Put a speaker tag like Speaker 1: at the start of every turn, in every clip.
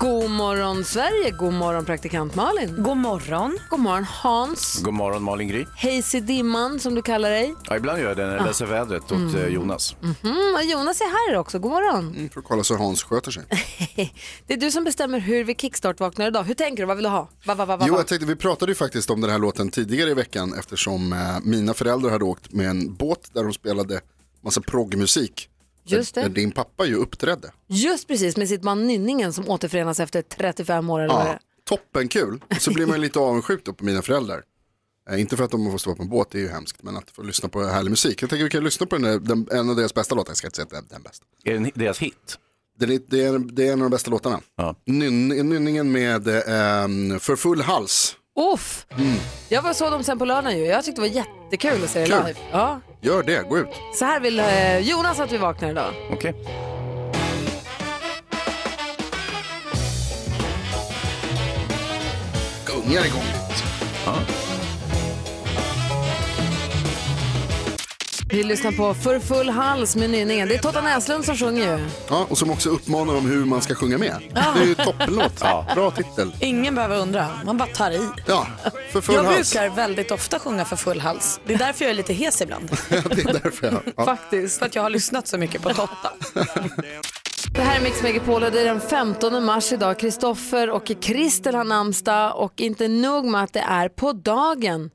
Speaker 1: God morgon Sverige, god morgon praktikant Malin.
Speaker 2: God morgon.
Speaker 1: God morgon Hans.
Speaker 3: God morgon Malin Gry.
Speaker 1: Hejs i dimman som du kallar dig.
Speaker 3: Ja, ibland gör jag det när jag läser vädret åt eh, Jonas.
Speaker 1: Mm, och Jonas är här också, god morgon.
Speaker 4: För att kolla så Hans sköter sig.
Speaker 1: Det är du som bestämmer hur vi kickstart-vaknar idag. Hur tänker du? Vad vill du ha? Va, va, va, va,
Speaker 4: Jo,
Speaker 1: va?
Speaker 4: jag tänkte, vi pratade ju faktiskt om den här låten tidigare i veckan eftersom eh, mina föräldrar hade åkt med en båt där de spelade massa proggmusik.
Speaker 1: Just
Speaker 4: Där,
Speaker 1: det.
Speaker 4: där din pappa ju uppträdde.
Speaker 1: Just precis, med sitt man Nynningen som återförenas efter 35 år eller vad det
Speaker 4: Ja,
Speaker 1: är.
Speaker 4: toppenkul. Och så blir man ju lite avundsjuk då på mina föräldrar. Eh, inte för att de får stå på en båt, det är ju hemskt, men att få lyssna på härlig musik. Jag tänker vi kan lyssna på den, där, den, en av deras bästa låtar, jag ska inte säga att det är den bästa.
Speaker 3: Är det deras hit?
Speaker 4: Det är, det är, det är en av de bästa låtarna.
Speaker 3: Ja.
Speaker 4: Nyn, nynningen med eh, För full hals. Mm.
Speaker 1: Uff! Jag var såg dem sen på lördagen ju. Jag tyckte det var jättekul att se det
Speaker 4: Kul.
Speaker 1: live. Ja.
Speaker 4: Gör det, gå ut.
Speaker 1: Så här vill eh, Jonas att vi vaknar idag.
Speaker 3: Okej.
Speaker 4: Gungar igång.
Speaker 1: Vi lyssnar på För full hals med Nynningen. Det är Totta Näslund som sjunger ju.
Speaker 4: Ja, och som också uppmanar om hur man ska sjunga med. Det är ju toppenlåt. Bra titel.
Speaker 2: Ingen behöver undra, man bara tar i.
Speaker 4: Ja, för full
Speaker 2: jag
Speaker 4: hals.
Speaker 2: brukar väldigt ofta sjunga för full hals. Det är därför jag är lite hes ibland.
Speaker 4: det är därför jag... Ja.
Speaker 1: Faktiskt.
Speaker 2: För att jag har lyssnat så mycket på Totta.
Speaker 1: Det här är Mix Megapol och det är den 15 mars idag. Kristoffer och Kristel har namnsdag och inte nog med att det är på dagen.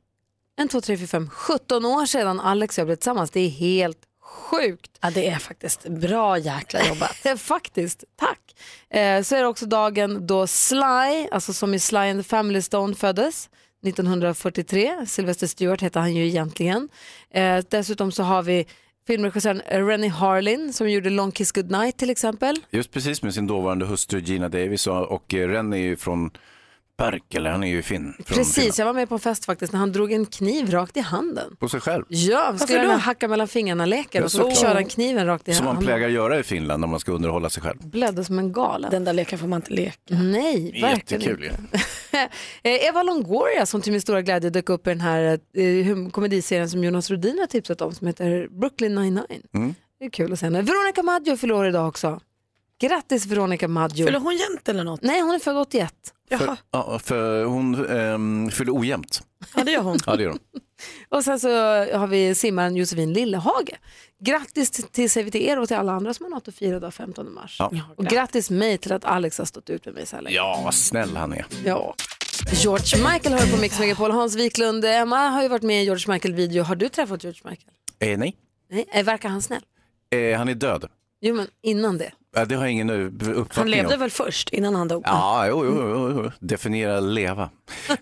Speaker 1: En, två, tre, fyra, fem, 17 år sedan Alex och jag blev tillsammans. Det är helt sjukt.
Speaker 2: Ja, det är faktiskt bra jäkla jobbat.
Speaker 1: Eh, Faktiskt, tack. Eh, så är det också dagen då Sly, alltså som i Sly and the Family Stone föddes. 1943, Sylvester Stewart hette han ju egentligen. Eh, dessutom så har vi filmregissören Rennie Harlin som gjorde Long Kiss Goodnight till exempel.
Speaker 3: Just precis med sin dåvarande hustru Gina Davis och, och eh, Ren är ju från Berkel, han är ju finn. Från
Speaker 1: Precis,
Speaker 3: Finland.
Speaker 1: jag var med på en fest faktiskt när han drog en kniv rakt i handen.
Speaker 3: På sig själv.
Speaker 1: Ja, vi ska
Speaker 2: Varför
Speaker 1: göra den här
Speaker 2: då?
Speaker 1: hacka mellan fingrarna-leken och så
Speaker 3: såklart.
Speaker 1: körde han kniven rakt i
Speaker 3: Som man
Speaker 1: handen.
Speaker 3: plägar göra i Finland när man ska underhålla sig själv.
Speaker 1: Blädde som en galen.
Speaker 2: Den där leken får man inte leka.
Speaker 1: Nej, verkligen
Speaker 3: Jättekul ju.
Speaker 1: Eh, Eva Longoria som till min stora glädje dök upp i den här eh, hum- komediserien som Jonas Rhodin har tipsat om som heter Brooklyn 99.
Speaker 4: Mm.
Speaker 1: Det är kul att se henne. Veronica Maggio fyller år idag också. Grattis Veronica Maggio.
Speaker 2: Fyller hon jämt eller något?
Speaker 1: Nej, hon är född 81.
Speaker 2: Jaha,
Speaker 3: Ja, för hon ehm, fyller ojämnt.
Speaker 2: ja, det gör hon.
Speaker 3: Ja, det gör hon.
Speaker 1: Och sen så har vi simmaren Josefin Lillehage. Grattis till- till sig till er och till alla andra som har något att fira idag 15 mars.
Speaker 3: Ja.
Speaker 1: Och grattis mig till att Alex har stått ut med mig så här länge.
Speaker 3: Ja, vad snäll han är.
Speaker 1: Ja. George Michael har på Mix Megapol. Hans Wiklund, Emma har ju varit med i en George Michael-video. Har du träffat George Michael?
Speaker 3: Eh, nej,
Speaker 1: Nej, eh, verkar han snäll?
Speaker 3: eh, han är död.
Speaker 1: Jo, men innan det.
Speaker 3: Eh, det har jag ingen eh, uppfattning
Speaker 2: Han levde
Speaker 3: om.
Speaker 2: väl först innan han dog?
Speaker 3: Ja, jo, jo, jo, jo. Definiera leva.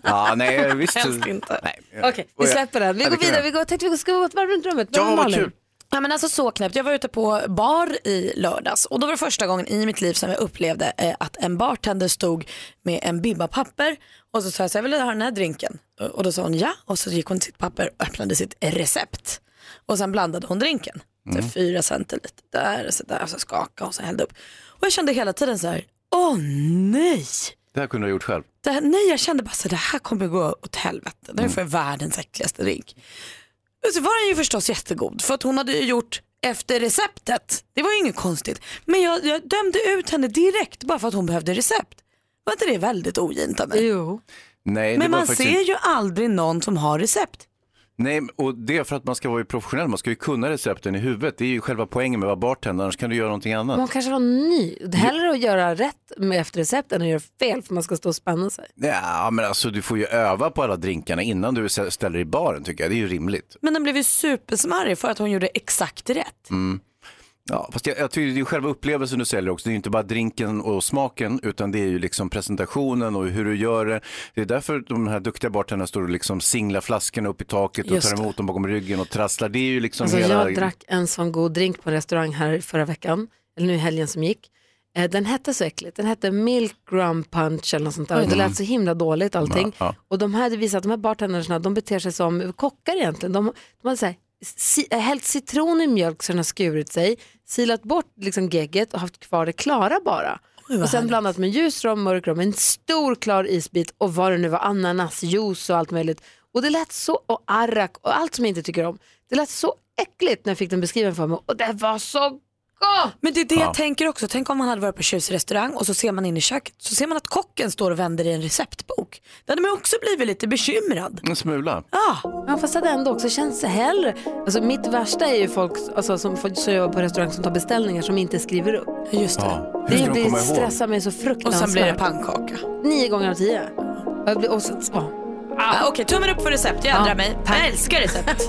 Speaker 3: Ja, nej, visst.
Speaker 2: Helst inte.
Speaker 3: Nej.
Speaker 1: Okej,
Speaker 3: Och
Speaker 1: vi
Speaker 3: jag-
Speaker 1: släpper den. Vi
Speaker 3: Oh, Ja, det
Speaker 1: går
Speaker 3: kan
Speaker 1: vidare.
Speaker 3: vi
Speaker 1: Vi går, tänkte vi ska gå ett varv runt rummet. Vem
Speaker 3: Ja,
Speaker 1: är
Speaker 3: vad
Speaker 1: Malin?
Speaker 3: kul.
Speaker 2: Ja, men alltså så knäppt. Jag var ute på bar i lördags och då var det första gången i mitt liv som jag upplevde eh, att en bartender stod med en bibba papper och så sa jag så här, jag vill ha den här drinken. Och då sa hon ja och så gick hon till sitt papper och öppnade sitt recept. Och sen blandade hon drinken. Så
Speaker 3: Mm.
Speaker 2: Fyra centiliter där och så där och så skakade och så hällde upp. Och jag kände hela tiden så här, åh nej.
Speaker 3: Det här kunde du ha gjort själv.
Speaker 2: Det här, nej, jag kände bara så här, det här kommer gå åt helvete. Det
Speaker 1: Mm.
Speaker 2: här är för världens äckligaste drink. Och så var den ju förstås jättegod för att hon hade ju gjort efter receptet. Det var ju inget konstigt. Men jag, jag dömde ut henne direkt bara för att hon behövde recept. Var inte det väldigt ogint av mig?
Speaker 1: Jo.
Speaker 3: Nej, det
Speaker 2: Men
Speaker 3: var
Speaker 2: man
Speaker 3: faktiskt...
Speaker 2: ser ju aldrig någon som har recept.
Speaker 3: Nej, och det är för att man ska vara ju professionell. Man ska ju kunna recepten i huvudet. Det är ju själva poängen med att vara bartender. Annars kan du göra någonting
Speaker 1: Men hon
Speaker 3: annat.
Speaker 1: kanske var ny.
Speaker 3: Mm.
Speaker 1: Hellre att göra rätt med efter recept än att göra fel för man ska stå och spänna sig.
Speaker 3: Ja, men alltså du får ju öva på alla drinkarna innan du s- ställer i baren tycker jag. Det är ju rimligt.
Speaker 2: Men den blev ju supersmarrig för att hon gjorde exakt rätt.
Speaker 3: Mm. Ja, fast jag, jag tycker det är ju själva upplevelsen du säljer också. Det är ju inte bara drinken och smaken utan det är ju liksom presentationen och hur du gör det. Det är därför de här duktiga bartenderna står och liksom singlar flaskorna upp i taket och
Speaker 2: Just
Speaker 3: tar
Speaker 2: det.
Speaker 3: emot dem bakom ryggen och trasslar. Det är ju liksom
Speaker 1: Alltså,
Speaker 3: hela...
Speaker 1: jag drack en sån god drink på en restaurang här förra veckan, eller nu i helgen som gick. Eh, Den hette så äckligt, den hette Milk Rum Punch eller något sånt där. Det lät så himla dåligt allting.
Speaker 3: Mm. Ja, ja.
Speaker 1: Och de hade visat att de här bartendersna, de beter sig som kockar egentligen. De, de hade så här, si, eh, hällt citron i mjölk så den har skurit sig, silat bort liksom gegget och haft kvar det klara bara. och sen blandat med ljus rom, mörk rom, en stor klar isbit och vad det nu var, ananasjuice och allt möjligt. Och det lät så, och arrak och allt som jag inte tycker om. Det lät så äckligt när jag fick den beskriven för mig och det var så gott!
Speaker 2: Men det är det jag tänker också. Tänk om man hade varit på tjusig restaurang och så ser man in i köket så ser man att kocken står och vänder i en receptbok. Då hade man också blivit lite bekymrad.
Speaker 3: En smula.
Speaker 2: Ja,
Speaker 1: Ah, Ja, fast det hade ändå också känns hellre. Alltså mitt värsta är ju folk alltså, som får som jobbar på restaurang som tar beställningar som inte skriver upp.
Speaker 2: just det.
Speaker 3: Ja. Hur
Speaker 1: Det,
Speaker 3: ska de
Speaker 1: det
Speaker 3: komma ihåg?
Speaker 1: stressar mig så
Speaker 2: Och sen
Speaker 1: fruktansvärt.
Speaker 2: blir det pannkaka.
Speaker 1: Nio gånger av tio. Jag blir, och så, ja.
Speaker 2: Ah, Okej, tummen upp för recept. Jag ändrar mig. Jag älskar recept.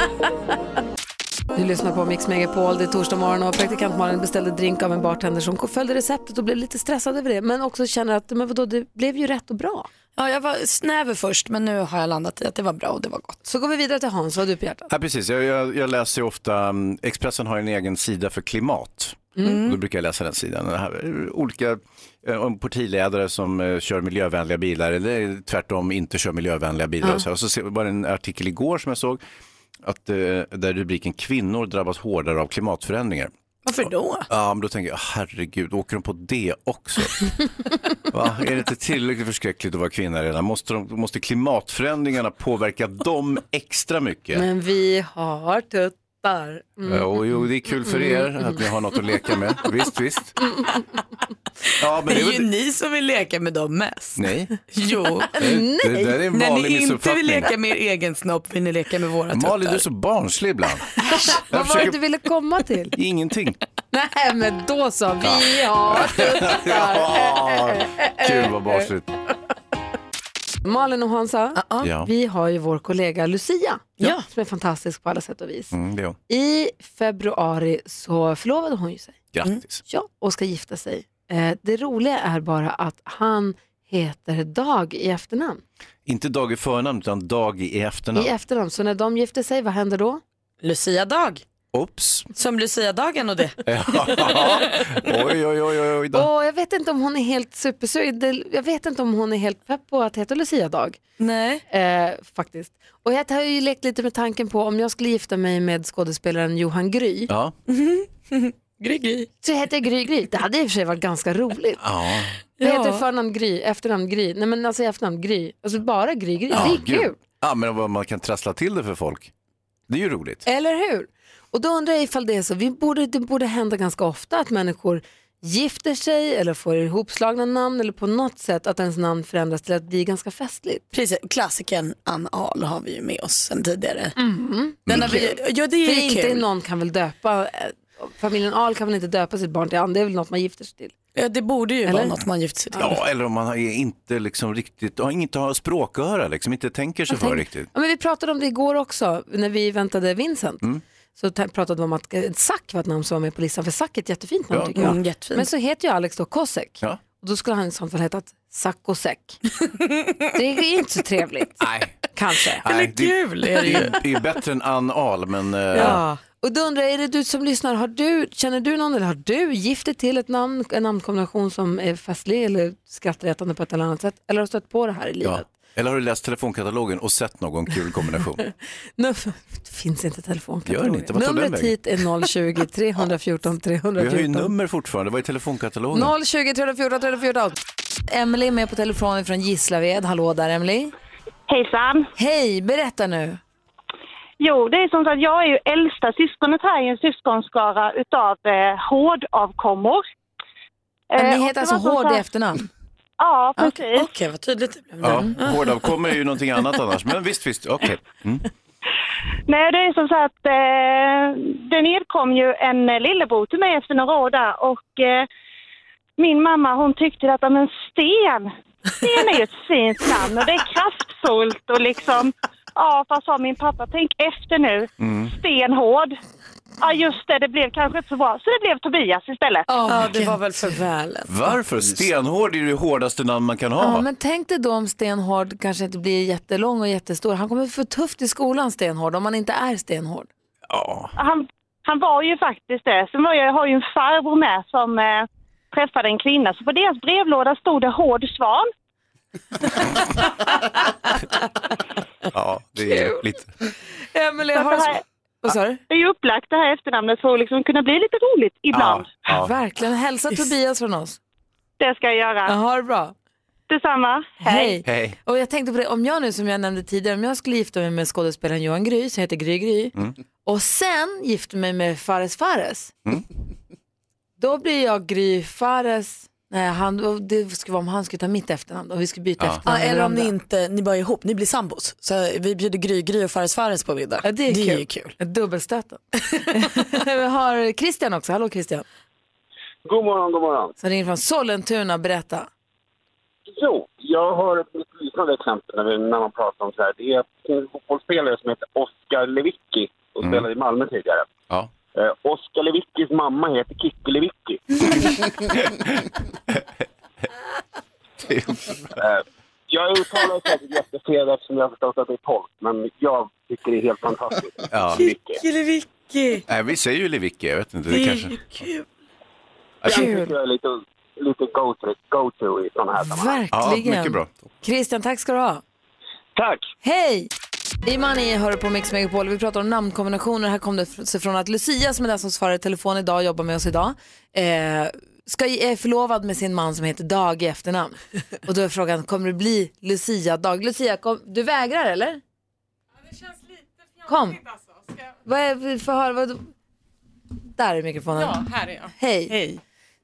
Speaker 1: Du lyssnar på Mix Megapol, det är torsdag morgon och praktikant Malin beställde drink av en bartender som följde receptet och blev lite stressad över det. Men också känner att men vadå, det blev ju rätt och bra.
Speaker 2: ja, jag var snäver först men nu har jag landat i att det var bra och det var gott.
Speaker 1: Så går vi vidare till Hans, vad har du på hjärtat?
Speaker 3: Ja, precis. Jag, jag, jag läser ju ofta, mm, Expressen har en egen sida för klimat. Och Då brukar jag läsa den sidan. Det här, eh, olika eh, om partiledare som eh, kör miljövänliga bilar eller tvärtom inte kör miljövänliga bilar. Och så, här. och så se- var det en artikel igår som jag såg att, eh, där rubriken kvinnor drabbas hårdare av klimatförändringar.
Speaker 2: Varför då?
Speaker 3: Ja, men då tänker jag, "Ah, herregud, åker de på det också? Va? Är det inte tillräckligt förskräckligt att vara kvinna redan? Måste, de, måste klimatförändringarna påverka dem extra mycket?
Speaker 1: Men vi har tuttar. Mm.
Speaker 3: Jo, Eh, jo, det är kul för er att ni har något att leka med. Visst, visst. Ja, men
Speaker 2: Det
Speaker 3: det
Speaker 2: är
Speaker 3: är
Speaker 2: ju
Speaker 3: väl...
Speaker 2: ni som vill leka med dem mest.
Speaker 3: Nej,
Speaker 2: Jo.
Speaker 3: Nej. det där är en
Speaker 2: När ni inte
Speaker 3: vanlig
Speaker 2: vill
Speaker 3: missuppfattning.
Speaker 2: leka med er egen snopp vill ni leka med våra
Speaker 3: Malin, du
Speaker 2: tuttar.
Speaker 3: är så barnslig ibland.
Speaker 1: Vad var det du ville komma till?
Speaker 3: Ingenting.
Speaker 1: Nej, men då så, vi har
Speaker 3: Ja, kul vad barnsligt.
Speaker 1: Malin och Hansa,
Speaker 3: Ja,
Speaker 1: vi har ju vår kollega Lucia
Speaker 2: Ja.
Speaker 1: som är fantastisk på alla sätt och vis.
Speaker 3: mm, det är hon.
Speaker 1: I februari så förlovade hon ju sig Mm.
Speaker 3: Grattis.
Speaker 1: ja, och ska gifta sig. Eh, det roliga är bara att han heter Dag i efternamn.
Speaker 3: Inte dag i förnamn, utan dag i
Speaker 1: I
Speaker 3: efternamn.
Speaker 1: efternamn, så när de gifte sig, vad händer då?
Speaker 2: Lucia-dag.
Speaker 3: Ops.
Speaker 2: Som Lucia-dagen och det.
Speaker 3: Oj, oj, oj, oj, oj. då.
Speaker 1: Och jag vet inte om hon är helt supersugen, det- jag vet inte om hon är helt pepp på att heta Lucia Dag.
Speaker 2: Nej.
Speaker 1: Eh, faktiskt. Och jag har ju lekt lite med tanken på om jag skulle gifta mig med skådespelaren Johan Gry,
Speaker 3: Ja,
Speaker 2: Gry, gry.
Speaker 1: så heter jag Gry Gry. Det hade i och för sig varit ganska roligt.
Speaker 3: ja.
Speaker 1: Vad
Speaker 2: Ja.
Speaker 1: heter förnamn Gry, efternamn Gry? Nej men alltså efternamn Gry. Alltså bara Gry Gry. det är
Speaker 3: gud.
Speaker 1: kul.
Speaker 3: Ja, men vad man kan trassla till det för folk. Det är ju roligt.
Speaker 1: Eller hur? Och då undrar jag ifall det är så. Vi borde, det borde hända ganska ofta att människor gifter sig eller får ihopslagna namn eller på något sätt att ens namn förändras till att bli ganska festligt.
Speaker 2: Precis, klassikern Ann Ahl har vi ju med oss sen tidigare. Mm.
Speaker 3: Mm.
Speaker 2: Den har vi, ja det är
Speaker 1: Mm. För
Speaker 2: ju
Speaker 1: inte
Speaker 2: kul.
Speaker 1: någon kan väl döpa, eh, familjen Ahl kan väl inte döpa sitt barn till Ann, det är väl något man gifter sig till.
Speaker 2: Ja, det borde ju vara
Speaker 1: Eller?
Speaker 2: något man gift sig till.
Speaker 3: Ja, eller om man är inte liksom riktigt, har inte har språköra, liksom inte tänker sig
Speaker 1: Jag
Speaker 3: för
Speaker 1: tänkte-
Speaker 3: riktigt.
Speaker 1: Ja, men vi pratade om det igår också när vi väntade Vincent.
Speaker 3: Mm.
Speaker 1: Så ta- pratade vi om att eh, Zack var ett namn som var med på listan, för Zack är ett jättefint namn
Speaker 3: Ja.
Speaker 1: tycker jag.
Speaker 2: Mm, jättefint.
Speaker 1: Men så heter ju Alex då Kosek.
Speaker 3: Ja.
Speaker 1: Och då skulle han i så fall hetat Sackosek. det är inte så trevligt,
Speaker 3: Nej.
Speaker 1: kanske.
Speaker 3: Nej, det-
Speaker 2: kul är det ju.
Speaker 3: Det är ju bättre än Ann Ahl, men eh,
Speaker 1: Ja. Och då undrar jag, är det du som lyssnar, har du, känner du någon eller har du gift dig till ett namn, en namnkombination som är festlig eller skrattretande på ett eller annat sätt? Eller har du stött på det här i livet?
Speaker 3: ja. Eller har du läst telefonkatalogen och sett någon kul kombination?
Speaker 1: Nu, det finns inte telefonkatalogen.
Speaker 3: Gör den inte? Vad tog den
Speaker 1: Numret
Speaker 3: vägen?
Speaker 1: hit är 020-314 314.
Speaker 3: Vi har ju nummer fortfarande, vad är telefonkatalogen?
Speaker 1: 020 314 314. Emily är med på telefon från Gislaved. Hallå där Emily.
Speaker 5: Hejsan!
Speaker 1: Hej, berätta nu.
Speaker 5: Jo, det är som sagt, jag är ju äldsta syskonet här i en syskonskara utav eh, hårdavkommor.
Speaker 1: Men
Speaker 5: Eh,
Speaker 1: ni
Speaker 5: och
Speaker 1: heter
Speaker 5: det var
Speaker 1: alltså
Speaker 5: som
Speaker 1: Hård i
Speaker 5: sagt-
Speaker 1: efternamn?
Speaker 5: Ja, precis.
Speaker 2: Okej, okej, vad tydligt det blev.
Speaker 3: Ja, hårdavkommer är ju någonting annat annars, men visst, visst, okej. Mm.
Speaker 5: Nej, det är som sagt, eh, det nedkom ju en eh, lillebror till mig efter några år där och eh, min mamma hon tyckte att, "Ja, men Sten, Sten är ju ett fint namn och det är kraftfullt och liksom, ja fast sa min pappa, tänk efter nu,
Speaker 6: Mm.
Speaker 5: stenhård. Ja just det, det blev kanske inte så bra, så det blev Tobias istället.
Speaker 2: Ja, det var väl för välen.
Speaker 3: Varför? Stenhård är ju det hårdaste namn man kan ha.
Speaker 1: Ja, men tänk dig då om Stenhård kanske inte blir jättelång och jättestor. Han kommer få tufft i skolan Stenhård om han inte är Stenhård.
Speaker 3: Ja.
Speaker 5: han, han var ju faktiskt det. Sen var jag, jag har ju en farbror med som eh, träffade en kvinna, så på deras brevlåda stod det hård svan.
Speaker 3: Ja, det är lite...
Speaker 1: Emelie,
Speaker 5: Så
Speaker 1: har
Speaker 5: att det,
Speaker 1: du...
Speaker 5: här,
Speaker 1: Vad sa du?
Speaker 5: det är ju upplagt det här efternamnet för att liksom kunna bli lite roligt ibland.
Speaker 3: Ja,
Speaker 1: Verkligen. Hälsa Tobias från oss.
Speaker 5: Det ska jag göra.
Speaker 1: Ja, ha det bra.
Speaker 5: Detsamma.
Speaker 1: Hej.
Speaker 3: Hej.
Speaker 1: Och jag tänkte på det, om jag nu som jag nämnde tidigare, om jag skulle gifta mig med skådespelaren Johan Gry, som heter Gry Gry, och sen gifta mig med Fares Fares, då blir jag Gry Fares, nej han, och det skulle vara om han skulle ta mitt efternamn och vi skulle byta
Speaker 2: Ja,
Speaker 1: efternamn. med
Speaker 2: eller om ni
Speaker 1: varandra.
Speaker 2: inte, ni bara är ihop, ni blir sambos. Så vi bjuder Gry, Gry och Fares Fares på middag.
Speaker 1: Ja, det är,
Speaker 2: ju kul.
Speaker 1: Dubbelstöten. vi har Christian också, hallå Christian.
Speaker 7: God morgon, god morgon.
Speaker 1: Som ringer från Sollentuna, berätta.
Speaker 7: Jo, jag har ett liknande exempel när, vi, när man pratar om så här. Det är en fotbollsspelare som heter Oskar Lewicki och spelade i Malmö tidigare.
Speaker 3: Mm. ja.
Speaker 7: Eh, Oskar Lewickis mamma heter Kikki Lewicki. eh, jag uttalar det säkert jättefel eftersom jag har förstått att det är tolk, men jag tycker det är helt fantastiskt.
Speaker 3: Ja.
Speaker 7: Lewicki.
Speaker 2: Killevicky.
Speaker 3: Nej, vi säger ju Levicki, jag vet inte. Det kanske...
Speaker 2: kul.
Speaker 7: Jag tycker jag är lite, lite go-to go i sådana här sammanhang.
Speaker 3: Ja,
Speaker 1: Verkligen.
Speaker 3: mycket bra.
Speaker 1: Christian, tack ska du ha.
Speaker 7: Tack!
Speaker 1: Hej! Imani hör på Mix Megapol och vi pratar om namnkombinationer. Här kom det f- sig från att Lucia som är den som svarar i telefon idag och jobbar med oss idag eh, ska, är förlovad med sin man som heter Dag i efternamn. Och då är frågan, kommer det bli Lucia Dag? Lucia, kom, du vägrar eller? Kom. Vad är, vi får höra, vad, där är mikrofonen.
Speaker 8: Ja, här är jag.
Speaker 1: Hej.
Speaker 8: Hej.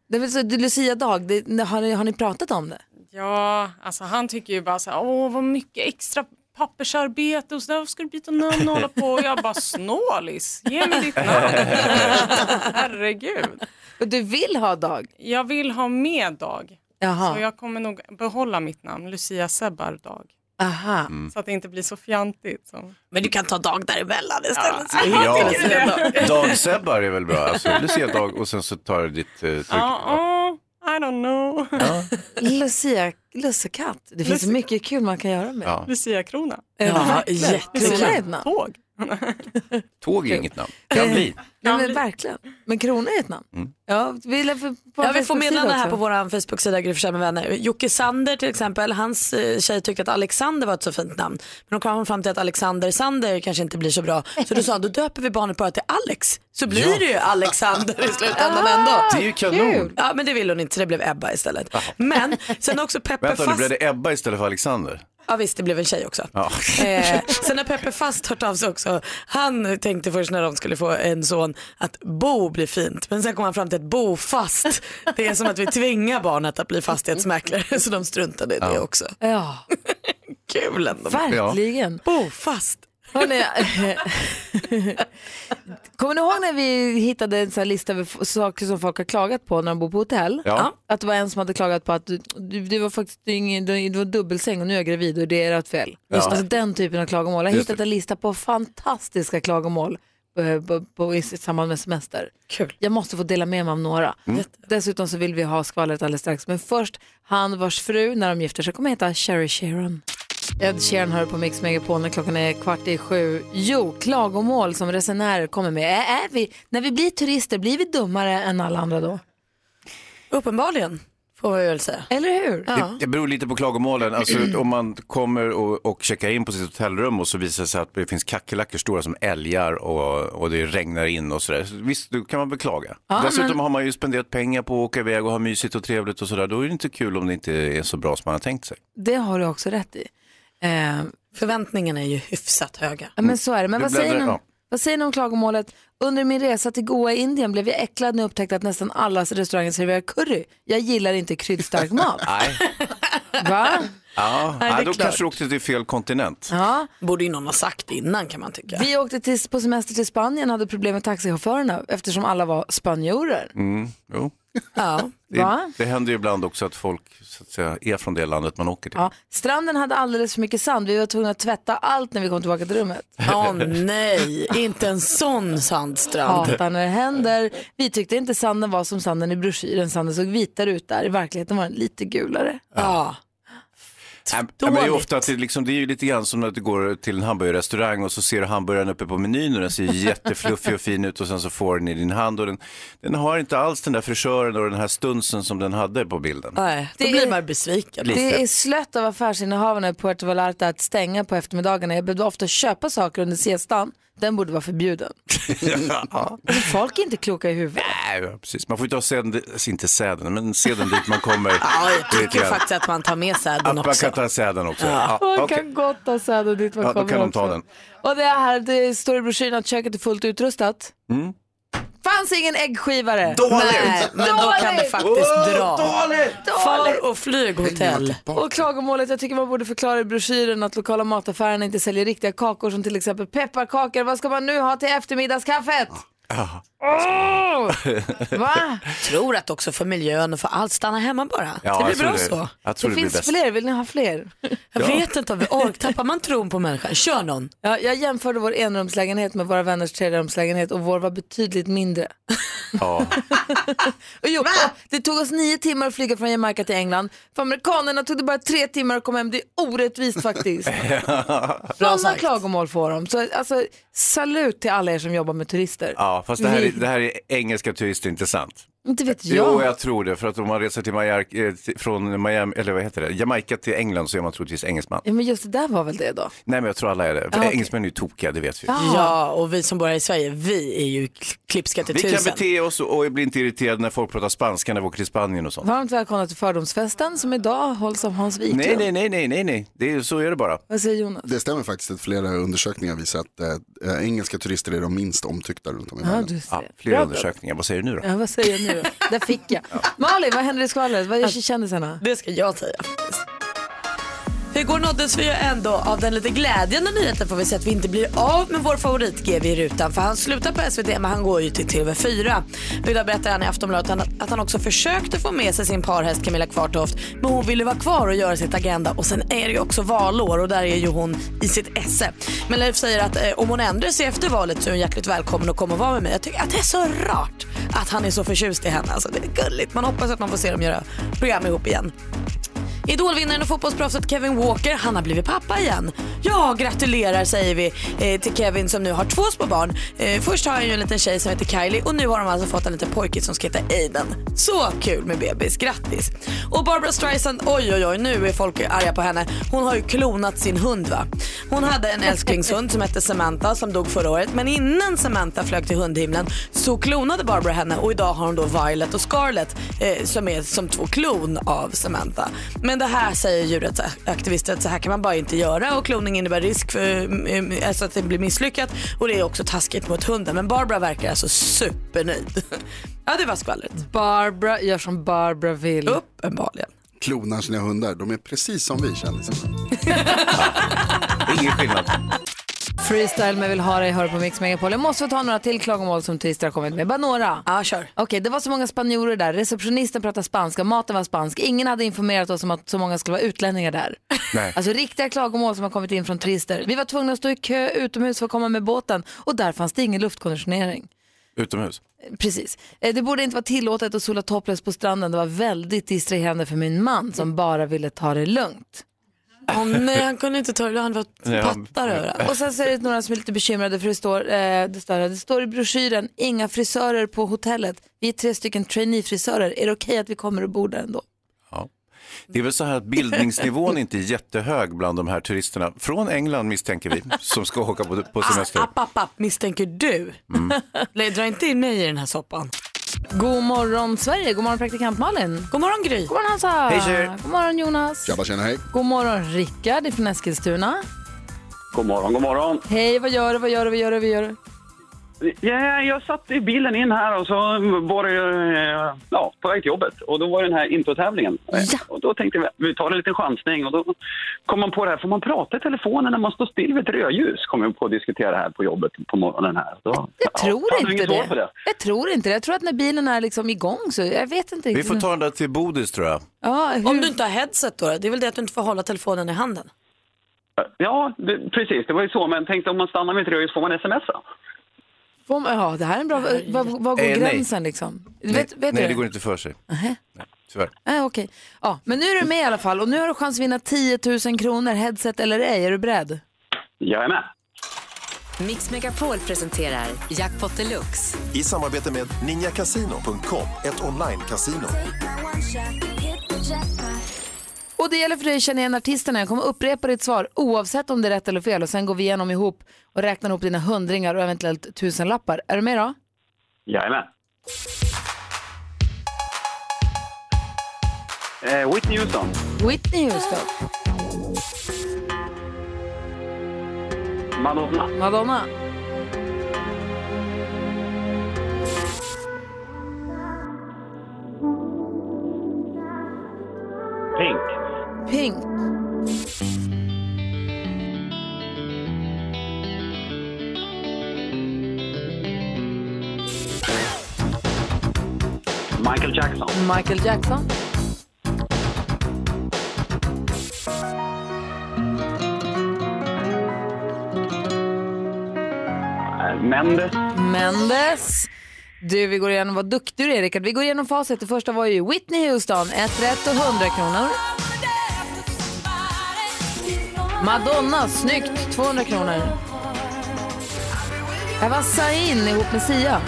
Speaker 1: Det vill säga, du, Lucia Dag, det, har, ni, har ni pratat om det?
Speaker 8: Ja, alltså han tycker ju bara så här, åh vad mycket extra pappersarbete och så där, varför ska du byta namn och hålla på? Och jag bara, snålis, ge mig ditt namn. Herregud.
Speaker 1: Och Du vill ha Dag?
Speaker 8: Jag vill ha med Dag,
Speaker 1: Jaha.
Speaker 8: så jag kommer nog behålla mitt namn, Lucia Sebbar Dag.
Speaker 1: Aha.
Speaker 9: Mm.
Speaker 3: Mm.
Speaker 8: Så att det inte blir så fjantigt. Som...
Speaker 2: Men du kan ta dag däremellan istället.
Speaker 3: Ja. Dag Sebbar är väl bra? Alltså, Lucia Dag och sen så tar du ditt eh, tryck.
Speaker 8: Ja, ja, I don't know.
Speaker 1: Lucia, lussekatt. Det finns så
Speaker 8: Lusse-
Speaker 1: mycket kul man kan göra med.
Speaker 3: Ja.
Speaker 8: Lucia Krona.
Speaker 2: Ja,
Speaker 1: Lucia
Speaker 2: jättekul.
Speaker 1: namn.
Speaker 8: Tåg.
Speaker 3: Tåg är inget namn. Kan bli.
Speaker 1: Ja, men verkligen. Men krona är ett namn. Ja, vi lär få, på
Speaker 2: Ja, vi får
Speaker 1: Facebook-sida
Speaker 2: meddelanden här på
Speaker 1: också.
Speaker 2: vår Facebook-sida Gry Forssell med vänner. Jocke Sander till exempel, hans eh, tjej tyckte att Alexander var ett så fint namn. Men då kom hon fram till att Alexander Sander kanske inte blir så bra. Så då sa han, då döper vi barnet bara till Alex. Så blir det ju Alexander i slutändan
Speaker 1: Ah,
Speaker 2: ändå.
Speaker 3: Det är ju kanon.
Speaker 1: kul.
Speaker 2: Ja men det ville hon inte så det blev Ebba istället. Men sen också Peppe
Speaker 3: Vänta, nu
Speaker 2: Fast.
Speaker 3: blev det Ebba istället för Alexander.
Speaker 2: Ja visst det blev en tjej också.
Speaker 3: Ja.
Speaker 2: Eh, sen har Peppe Fast hört av sig också. Han tänkte först när de skulle få en son att Bo blir fint. Men sen kom han fram till att Bo Fast. Det är som att vi tvingar barnet att bli fastighetsmäklare. Så de struntade i det också.
Speaker 1: Ja,
Speaker 2: Kul ändå.
Speaker 1: verkligen.
Speaker 2: Bo Fast.
Speaker 1: Hörrni, kommer ni ihåg när vi hittade en sån här lista över f- saker som folk har klagat på när de bor på hotell?
Speaker 3: Ja.
Speaker 1: Att det var en som hade klagat på att du, du, du var faktiskt du, är ingen- du, du var dubbelsäng och nu är jag gravid och det är ert fel. Alltså den typen av klagomål. Jag har
Speaker 3: Just
Speaker 1: hittat
Speaker 3: det.
Speaker 1: en lista på fantastiska klagomål eh, på, på, i samband med semester.
Speaker 2: Kul.
Speaker 1: Jag måste få dela med mig av några.
Speaker 3: Mm.
Speaker 1: Dessutom så vill vi ha skvallret alldeles strax. Men först, han vars fru när de gifter sig kommer heta Sherry Sharon. Ed Sheeran hör på Mix Megapol när klockan är kvart i sju. Jo, klagomål som resenärer kommer med. Är, är vi, när vi blir turister, blir vi dummare än alla andra då?
Speaker 2: Uppenbarligen får vi väl säga.
Speaker 1: Eller hur?
Speaker 3: Det, det beror lite på klagomålen.
Speaker 2: Mm.
Speaker 3: Alltså, om man kommer och, och checkar in på sitt hotellrum och så visar det sig att det finns kackerlackor stora som älgar och, och det regnar in och sådär. Så Visst, då kan man beklaga. Dessutom har man ju spenderat pengar på att åka iväg och ha mysigt och trevligt och sådär. Då är det inte kul om det inte är så bra som man har tänkt sig.
Speaker 1: Det har du också rätt i. Eh,
Speaker 2: Förväntningarna är ju hyfsat höga.
Speaker 1: Ja, men så är det. Men
Speaker 3: Det
Speaker 1: vad säger,
Speaker 3: bläddrar-
Speaker 1: ni om,
Speaker 3: ja.
Speaker 1: vad säger ni om klagomålet? Under min resa till Goa i Indien blev jag äcklad när jag upptäckte att nästan alla restauranger serverar curry. Jag gillar inte kryddstark mat.
Speaker 3: Nej,
Speaker 1: Va?
Speaker 3: ja.
Speaker 2: Nej, det är
Speaker 3: Nej då
Speaker 2: klart.
Speaker 3: kanske du åkte till fel kontinent.
Speaker 1: Ja.
Speaker 2: Borde ju någon ha sagt innan kan man tycka.
Speaker 1: Vi åkte till, på semester till Spanien och hade problem med taxichaufförerna eftersom alla var spanjorer.
Speaker 3: Mm, Jo.
Speaker 2: Ja.
Speaker 3: Det,
Speaker 1: Va?
Speaker 3: det händer ju ibland också att folk så att säga, är från det landet man åker till.
Speaker 1: Ja. Stranden hade alldeles för mycket sand. Vi var tvungna att tvätta allt när vi kom tillbaka till rummet.
Speaker 2: Åh nej, inte en sån sandstrand.
Speaker 1: Hatar när det händer. Vi tyckte inte sanden var som sanden i broschyren. Sanden såg vitare ut där. I verkligheten var den lite gulare.
Speaker 2: Ja.
Speaker 3: Nej, men det är ju ofta att det, liksom, det är ju lite grann som när du går till en hamburgerrestaurang och så ser du hamburgaren uppe på menyn och den ser jättefluffig och fin ut och sen så får den i din hand och den, den har inte alls den där frisören och den här stunsen som den hade på bilden.
Speaker 2: Nej, då
Speaker 1: Det
Speaker 2: blir
Speaker 1: är-
Speaker 2: man besviken.
Speaker 1: Det är slött av affärsinnehavarna i Puerto Vallarta att stänga på eftermiddagarna. Jag behövde ofta köpa saker under siestan. Den borde vara förbjuden.
Speaker 3: ja.
Speaker 1: Alltså, folk är inte kloka i huvudet.
Speaker 3: Nej, precis. Man får inte ha seden, inte säden, men seden dit man kommer.
Speaker 2: Ja, jag
Speaker 3: Lite
Speaker 2: tycker
Speaker 3: grann.
Speaker 2: faktiskt att man tar med
Speaker 3: Att
Speaker 2: säden
Speaker 3: man
Speaker 2: också.
Speaker 3: kan ta säden också.
Speaker 2: Ja.
Speaker 3: Ja,
Speaker 1: Man
Speaker 3: okej.
Speaker 1: kan gott ta säd och dit man
Speaker 3: Ja, då
Speaker 1: kommer
Speaker 3: kan de
Speaker 1: också.
Speaker 3: ta den.
Speaker 1: Och det här, det står i broschyren att köket är fullt utrustat.
Speaker 3: Mm.
Speaker 1: Fanns ingen äggskivare.
Speaker 2: Nej, men då kan det faktiskt dra. Far och flyghotell.
Speaker 1: Och klagomålet, jag tycker man borde förklara i broschyren att lokala mataffärerna inte säljer riktiga kakor som till exempel pepparkakor. Vad ska man nu ha till eftermiddagskaffet? Åh! Va?
Speaker 2: Tror att också för miljön och för allt, stanna hemma bara.
Speaker 3: Ja,
Speaker 2: det
Speaker 3: jag
Speaker 2: blir
Speaker 3: tror
Speaker 2: bra så.
Speaker 3: Jag tror
Speaker 1: Det,
Speaker 3: det, blir
Speaker 1: finns
Speaker 3: bäst.
Speaker 1: fler, vill ni ha fler?
Speaker 2: Jag
Speaker 3: Ja.
Speaker 2: vet inte om vi orkar, tappar man tron på människan? Kör någon.
Speaker 1: Ja, jag jämförde vår enrumslägenhet med våra vänners trerumslägenhet och vår var betydligt mindre.
Speaker 3: Ja.
Speaker 1: Och jo, och det tog oss nio timmar att flyga från Jamaica till England. För amerikanerna tog det bara tre timmar att komma hem. Det är orättvist faktiskt. Sådana
Speaker 2: sagt.
Speaker 1: klagomål får de. Så alltså, salut till alla er som jobbar med turister.
Speaker 3: ja, fast det här, är,
Speaker 1: Vi-
Speaker 3: det här är engelska turister, inte sant?
Speaker 1: Inte vet jag.
Speaker 3: Jo, jag tror det. För att om man reser till Majar- eh, till- från Miami, eller vad heter det? Jamaica till England så är man troligtvis engelsman.
Speaker 1: Ja, men just det där var väl det då.
Speaker 3: Nej, men jag tror alla är det. För
Speaker 1: Ja, okej.
Speaker 3: Engelsmän är ju tokiga, det vet vi.
Speaker 2: Ja, och vi som bor här i Sverige, vi är ju kl- klipska till
Speaker 3: Vi kan
Speaker 2: tusen.
Speaker 3: bete oss och och bli inte irriterade när folk pratar spanska när vi åker till Spanien och sånt.
Speaker 1: Varmt välkomna till fördomsfesten som idag hålls av Hans Wiklund.
Speaker 3: Nej, nej, nej, nej, nej, nej. Det är, så är det bara.
Speaker 1: Vad säger Jonas?
Speaker 4: Det stämmer faktiskt att flera undersökningar visar att eh, eh, engelska turister är de minst omtyckta runt om i
Speaker 1: Ja,
Speaker 4: världen.
Speaker 1: du ser.
Speaker 3: Ja, flera undersökningar. Vad säger du nu då?
Speaker 1: Ja, vad säger jag nu då? Där fick jag. Malin, vad händer i skvallret? Vad gör kändisarna?
Speaker 2: Det ska jag säga. Igår nåddes vi ju ändå av den lite glädjande nyheten får vi säga att vi inte blir av med vår favorit GV i rutan för han slutar på SVT men han går ju till TV4. Och idag berättar han i Aftonbladet att han- att han också försökte få med sig sin parhäst Camilla Kvartoft men hon ville vara kvar och göra sitt Agenda och sen är det ju också valår och där är ju hon i sitt esse. Men Leif säger att eh, om hon ändrar sig efter valet så är hon hjärtligt välkommen att komma och vara med mig. Jag tycker att det är så rart att han är så förtjust i henne. Alltså, det är gulligt. Man hoppas att man får se dem göra program ihop igen. Idolvinnaren och fotbollsproffset Kevin Walker, han har blivit pappa igen. Ja, gratulerar säger vi eh, till Kevin som nu har två små barn. Eh, först har han ju en liten tjej som heter Kylie och nu har de alltså fått en liten pojke som ska heta Aiden. Så kul med bebis, grattis! Och Barbara Streisand, oj oj oj, nu är folk arga på henne. Hon har ju klonat sin hund va. Hon hade en älsklingshund som hette Samantha som dog förra året men innan Samantha flög till hundhimlen så klonade Barbara henne och idag har hon då Violet och Scarlett eh, som är som två klon av Samantha. Men det här säger djurrättsaktivister att så här kan man bara inte göra och kloning innebär risk för eh, alltså att det blir misslyckat och det är också taskigt mot hunden. Men Barbara verkar alltså supernöjd. ja det var skvallret.
Speaker 1: Barbara gör som Barbara vill.
Speaker 2: Uppenbarligen.
Speaker 4: Klonar sina hundar, de är precis som vi kändisarna.
Speaker 3: Det är Ingen skillnad.
Speaker 1: Freestyle med Vill ha dig hör på Mix Megapol. Jag måste få ta några till klagomål som turister har kommit med. Bara några.
Speaker 2: Ja kör.
Speaker 1: Okej, det var så många spanjorer där. Receptionisten pratade spanska, maten var spansk. Ingen hade informerat oss om att så många skulle vara utlänningar där.
Speaker 3: Nej.
Speaker 1: Alltså riktiga klagomål som har kommit in från turister. Vi var tvungna att stå i kö utomhus för att komma med båten och där fanns det ingen luftkonditionering.
Speaker 3: Utomhus.
Speaker 1: Precis. Eh, Det borde inte vara tillåtet att sola topless på stranden. Det var väldigt distraherande för min man som bara ville ta det lugnt.
Speaker 2: Åh nej han kunde inte ta det, han var
Speaker 3: Ja.
Speaker 2: pattar överallt.
Speaker 1: Och sen så är det några som är lite bekymrade för det står, eh, det står, här, det står i broschyren, inga frisörer på hotellet. Vi är tre stycken trainee-frisörer. Är det okej att vi kommer och bor där ändå?
Speaker 3: Det är väl så här att bildningsnivån inte är jättehög bland de här turisterna. Från England misstänker vi, som ska åka på, på
Speaker 1: Ah,
Speaker 3: semester.
Speaker 2: App, app, app, misstänker du. Mm. Dra inte in mig i den här soppan.
Speaker 1: God morgon Sverige, god morgon praktikant Malin.
Speaker 2: God morgon Gry.
Speaker 1: God morgon Hansa.
Speaker 3: Hej, tjejer.
Speaker 1: god morgon Jonas.
Speaker 4: Tjabba tjena hej.
Speaker 1: God morgon Rickard från Eskilstuna.
Speaker 7: God morgon, god morgon.
Speaker 1: Hej, vad gör du, vad gör du, vad gör du, vad gör du?
Speaker 7: Ja, jag satt i bilen in här och så var det eh, ja, på väg till jobbet och då var det den här introtävlingen.
Speaker 1: Ja.
Speaker 7: Och då tänkte vi vi tar en liten chansning och då kom man på det här, får man prata i telefonen när man står still vid ett rödljus? Kom vi på att diskutera det här på jobbet på morgonen här. Så,
Speaker 1: Jag
Speaker 7: ja,
Speaker 1: tror inte
Speaker 7: fan, inget svar
Speaker 1: det.
Speaker 7: på det.
Speaker 1: Jag tror inte det. Jag tror att när bilen är liksom igång så, jag vet inte
Speaker 3: Vi
Speaker 1: riktigt.
Speaker 3: får ta den där till Bodis tror jag.
Speaker 1: ja, hur...
Speaker 2: Om du inte har headset då, det är väl det att du inte får hålla telefonen i handen.
Speaker 7: Ja, det, precis. Det var ju så. Men tänkte om man stannar vid ett rödljus får man smsa.
Speaker 1: Får man- Ja, det här är en bra... Var, var går
Speaker 3: Eh, nej.
Speaker 1: gränsen liksom? Vet, vet
Speaker 3: Nej,
Speaker 1: du?
Speaker 3: det går inte för sig.
Speaker 1: Nähä.
Speaker 3: Tyvärr.
Speaker 1: Äh, okej. Ja, men nu är du med i alla fall och nu har du chans att vinna 10 000 kronor, headset eller ej. Är du beredd?
Speaker 7: Jag är med.
Speaker 10: Mix Megapol presenterar Jackpot Deluxe.
Speaker 11: I samarbete med ninjakasino.com, ett online-casino.
Speaker 1: Och det gäller för dig att känna igen artisterna. Jag kommer upprepa ditt svar oavsett om det är rätt eller fel och sen går vi igenom ihop och räknar ihop dina hundringar och eventuellt tusenlappar. Är du med då?
Speaker 7: Jag är med. Eh, Whitney Houston.
Speaker 1: Whitney Houston,
Speaker 7: Madonna.
Speaker 1: Madonna,
Speaker 7: Pink.
Speaker 1: Pink,
Speaker 7: Michael Jackson.
Speaker 1: Michael Jackson,
Speaker 7: Eh, Mendes.
Speaker 1: Mendes. Du, vi går igenom, vad duktig du är Rickard. Vi går igenom facit. Det första var ju Whitney Houston, ett rätt och 100 kronor. Madonna, snyggt, 200 kronor. Här var Sain ihop med Sia.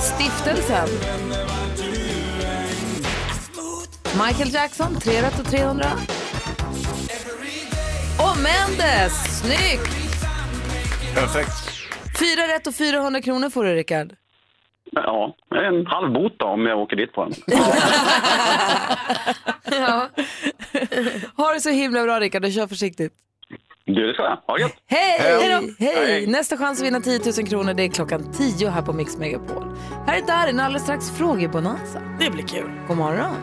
Speaker 1: Stiftelsen. Michael Jackson, 3 rätt och 300. Och Mendes, snyggt!
Speaker 3: Perfekt.
Speaker 1: Fyra rätt och 400 kronor får du, Rickard.
Speaker 7: Ja, en halv bot då, om jag åker dit på den.
Speaker 1: Ja. ha det så himla bra, Rickard, och kör försiktigt.
Speaker 7: Du, det ska jag. Ha det gött.
Speaker 1: Hej!
Speaker 7: Hej.
Speaker 1: Hej!
Speaker 7: Hej.
Speaker 1: Nästa chans att vinna 10 000 kronor det är klockan 10 här på Mix Megapol. Här är Darin, alldeles strax frågebonanza.
Speaker 2: Det blir kul.
Speaker 1: God morgon.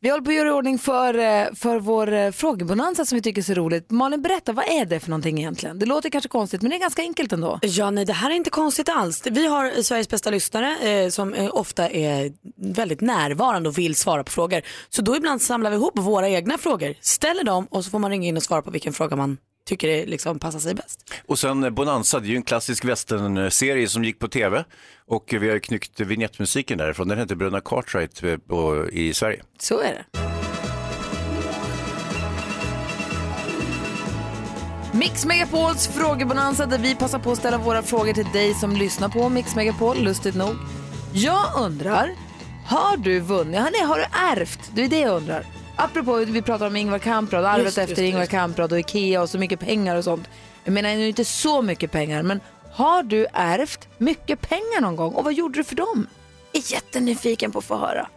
Speaker 1: Vi håller på att göra i ordning för, eh, för vår eh, frågebonanza som vi tycker är så roligt. Malin, berätta, vad är det för någonting egentligen? Det låter kanske konstigt, men det är ganska enkelt ändå.
Speaker 2: Ja, nej, det här är inte konstigt alls. Vi har Sveriges bästa lyssnare eh, som eh, ofta är väldigt närvarande och vill svara på frågor. Så då ibland samlar vi ihop våra egna frågor, ställer dem och så får man ringa in och svara på vilken fråga man tycker är, liksom, passar sig bäst.
Speaker 3: Och sen eh, Bonanza, det är ju en klassisk westernserie som gick på tv. Och eh, vi har ju knyckt vignettmusiken därifrån. Den hette Bröderna Cartwright eh, på, i Sverige.
Speaker 1: Så är det. Mix Megapols frågebonanza där vi passar på att ställa våra frågor till dig som lyssnar på Mix Megapol, lustigt nog. Jag undrar, har du vunnit, har, nej, har du ärvt? Det är det jag undrar. Apropå vi pratar om Ingvar Kamprad, arvet
Speaker 2: Just,
Speaker 1: efter
Speaker 2: just,
Speaker 1: Ingvar
Speaker 2: just.
Speaker 1: Kamprad och Ikea och så mycket pengar och sånt. Jag menar det är ju inte så mycket pengar, men har du ärvt mycket pengar någon gång och vad gjorde du för dem? Jag är jättenyfiken på att få höra.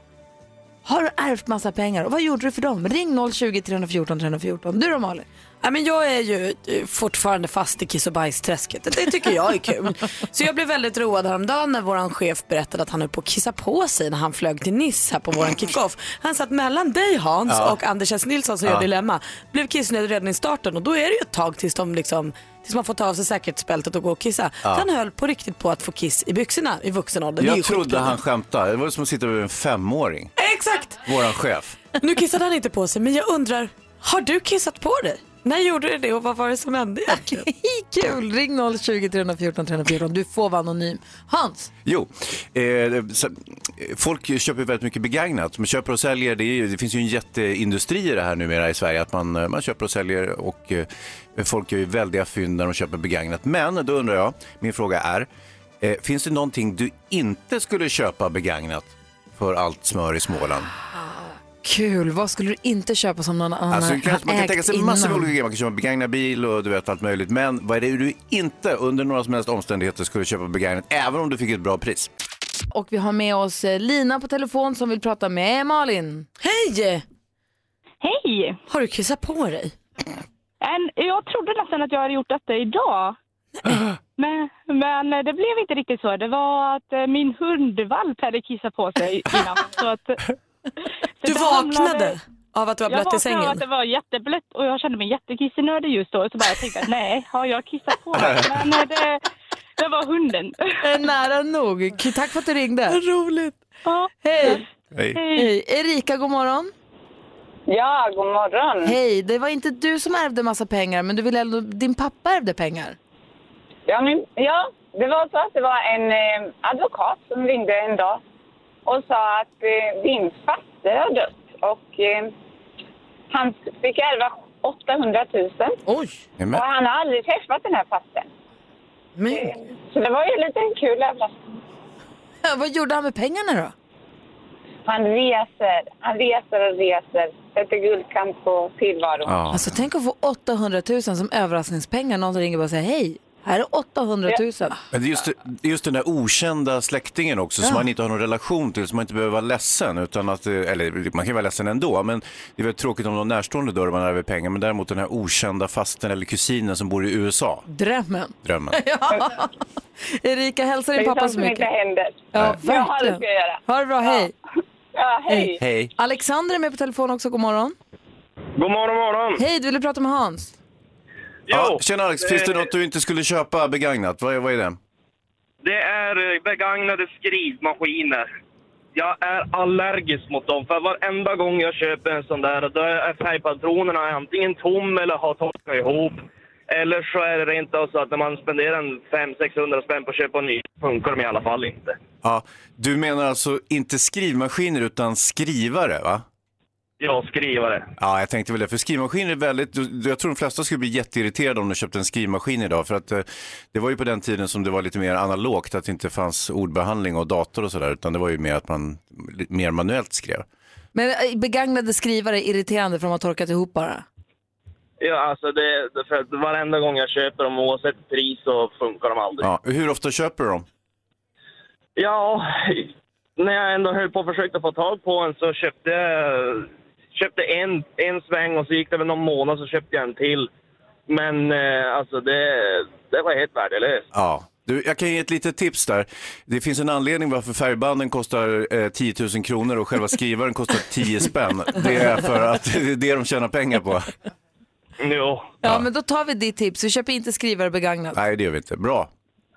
Speaker 1: Har du ärvt massa pengar och vad gjorde du för dem? Ring 020 314 314. Du då Malin?
Speaker 2: Ja, men jag är ju eh, fortfarande fast i kiss och bajsträsket. Det tycker jag är kul. Så jag blev väldigt road häromdagen när vår chef berättade att han höll på att kissa på sig när han flög till Nice här på vår kickoff. Han satt mellan dig Hans
Speaker 12: Ja.
Speaker 2: och Anders S. Nilsson som
Speaker 12: Ja.
Speaker 2: gör Dilemma. Blev kissnödig redan i starten och då är det ju ett tag tills, de liksom, tills man får ta av sig säkerhetsbältet och gå och kissa.
Speaker 3: Ja.
Speaker 2: Så han höll på riktigt på att få kiss i byxorna i vuxen ålder. Det är ju
Speaker 3: Jag trodde
Speaker 2: skitbra.
Speaker 3: han skämtade. Det var som att sitta med en femåring.
Speaker 2: Exakt!
Speaker 3: Våran chef.
Speaker 2: Nu kissade han inte på sig men jag undrar, har du kissat på dig? När gjorde du det och vad var det som hände egentligen?
Speaker 1: Kul! Ring 020 314 314. Du får vara anonym. Hans?
Speaker 3: Jo, eh, så, eh, folk köper ju väldigt mycket begagnat. De köper och säljer, det, är, ju- det finns ju en jätteindustri i det här numera i Sverige. Att man, eh, man köper och säljer och eh, folk gör ju väldiga fynd när de köper begagnat. Men då undrar jag, min fråga är, eh, finns det någonting du inte skulle köpa begagnat för allt smör i Småland?
Speaker 1: Kul. Vad skulle du inte köpa som någon annan
Speaker 3: Alltså, kanske, man kan
Speaker 1: ägt
Speaker 3: tänka sig
Speaker 1: innan?
Speaker 3: massor av olika grejer. Man kan köpa begagnad bil och du vet allt möjligt. Men vad är det du inte under några som helst omständigheter skulle köpa begagnat, även om du fick ett bra pris?
Speaker 1: Och vi har med oss eh, Lina på telefon som vill prata med Malin.
Speaker 2: Hej!
Speaker 13: Hej!
Speaker 2: Har du kissat på dig?
Speaker 13: En, jag trodde nästan att jag hade gjort detta idag. Men, men det blev inte riktigt så. Det var att eh, min hundvalp hade kissat på sig innan. Så att, så
Speaker 2: Du
Speaker 13: det hamnade-
Speaker 2: vaknade av att du var
Speaker 13: jag
Speaker 2: blött i
Speaker 13: vaknade av
Speaker 2: sängen?
Speaker 13: att det var jätteblött och jag kände mig jättekissnödig just då. Så bara jag tänkte att nej, har jag kissat på mig? Men eh, det, det var hunden.
Speaker 1: Nära nog. K- Tack för att du ringde.
Speaker 2: roligt.
Speaker 1: Hej.
Speaker 3: Hej.
Speaker 1: Hej. Erika, god morgon.
Speaker 14: Ja, god morgon.
Speaker 1: Hej. Det var inte du som ärvde massa pengar, men du ville ändå, din pappa ärvde pengar.
Speaker 14: Ja, men, ja, det var så att det var en eh, advokat som ringde en dag och sa att eh, din faster har dött. Och eh, han fick ärva 800 000.
Speaker 2: Oj!
Speaker 14: Och han har aldrig träffat den här fastern. Eh,
Speaker 2: Men...
Speaker 14: Så det var ju lite en kul jävla...
Speaker 1: Vad gjorde han med pengarna då?
Speaker 14: Han reser, han reser och reser. Sätter guldkant på tillvaron.
Speaker 1: Alltså tänk att få 800 000 som överraskningspengar. Någon ringer och bara säger hej, här är 800 000.
Speaker 3: Men det är just, just den där okända släktingen också som
Speaker 1: Ja.
Speaker 3: man inte har någon relation till, som man inte behöver vara ledsen. Utan att, eh, eller man kan ju vara ledsen ändå, men det är väl tråkigt om någon närstående dör och man ärver pengar. Men däremot den här okända fasten eller kusinen som bor i USA,
Speaker 1: Drömmen.
Speaker 3: drömmen.
Speaker 1: Ja. Erika, hälsa din
Speaker 14: Det är
Speaker 1: pappa
Speaker 14: sånt
Speaker 1: så
Speaker 14: som
Speaker 1: mycket.
Speaker 14: inte händer.
Speaker 1: Ja,
Speaker 14: Ja, det ska jag
Speaker 1: verkligen.
Speaker 14: göra.
Speaker 1: Ha det bra, hej.
Speaker 14: Ja, hej.
Speaker 1: Alexander är med på telefon också, god morgon.
Speaker 12: God morgon,
Speaker 14: Mm.
Speaker 12: morgon.
Speaker 1: Hej, du ville prata med Hans.
Speaker 3: Ja, tjena Alex, finns det
Speaker 12: Eh.
Speaker 3: något du inte skulle köpa begagnat? Vad är, vad är det?
Speaker 12: Det är eh, begagnade skrivmaskiner. Jag är allergisk mot dem, för varenda gång jag köper en sån där, då är färgpatronerna antingen tom eller har torkat ihop. Eller så är det rent av så att när man spenderar en 500-600 spänn på att köpa en ny, funkar de i alla fall inte.
Speaker 3: Ja, du menar alltså inte skrivmaskiner utan skrivare, va?
Speaker 12: Jag skrivare.
Speaker 3: Ja, jag tänkte väl det. För skrivmaskiner är väldigt, du- jag tror de flesta skulle bli jätteirriterade om de köpte en skrivmaskin idag. För att eh, det var ju på den tiden som det var lite mer analogt, att det inte fanns ordbehandling och dator och sådär, utan det var ju mer att man li- mer manuellt skrev.
Speaker 1: Men eh, begagnade skrivare är irriterande för de har torkat ihop bara.
Speaker 12: Ja, alltså det, för att varenda gång jag köper dem, oavsett pris, så funkar de aldrig.
Speaker 3: Ja, hur ofta köper du dem?
Speaker 12: Ja, när jag ändå höll på och försökte få tag på en så köpte jag köpte en, en sväng och så gick det väl någon månad så köpte jag en till. Men eh, alltså det, det var helt värdelöst.
Speaker 3: Ja. Du, jag kan ge ett litet tips där. Det finns en anledning varför färgbanden kostar eh, 10 000 kronor och själva skrivaren kostar 10 spänn. Det är för att det är det de tjänar pengar på.
Speaker 12: Jo.
Speaker 1: Ja, men då tar vi ditt tips. Vi köper inte skrivare begagnat.
Speaker 3: Nej, det gör vi inte. Bra.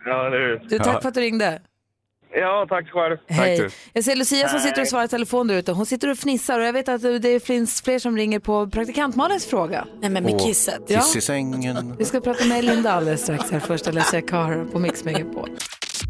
Speaker 12: Ja, det är...
Speaker 1: Du, tack för att du ringde.
Speaker 12: Ja, tack själv.
Speaker 1: Hej. Jag ser Lucia som sitter och
Speaker 12: Hej.
Speaker 1: svarar i telefon där ute. Hon sitter och fnissar och jag vet att eh, det finns fler som ringer på praktikantmalens fråga.
Speaker 2: Nej men
Speaker 3: Och
Speaker 1: Ja.
Speaker 3: Kiss i sängen.
Speaker 1: Vi ska prata med Linda alldeles strax här. Först Alicia Cara på Mix Megapol.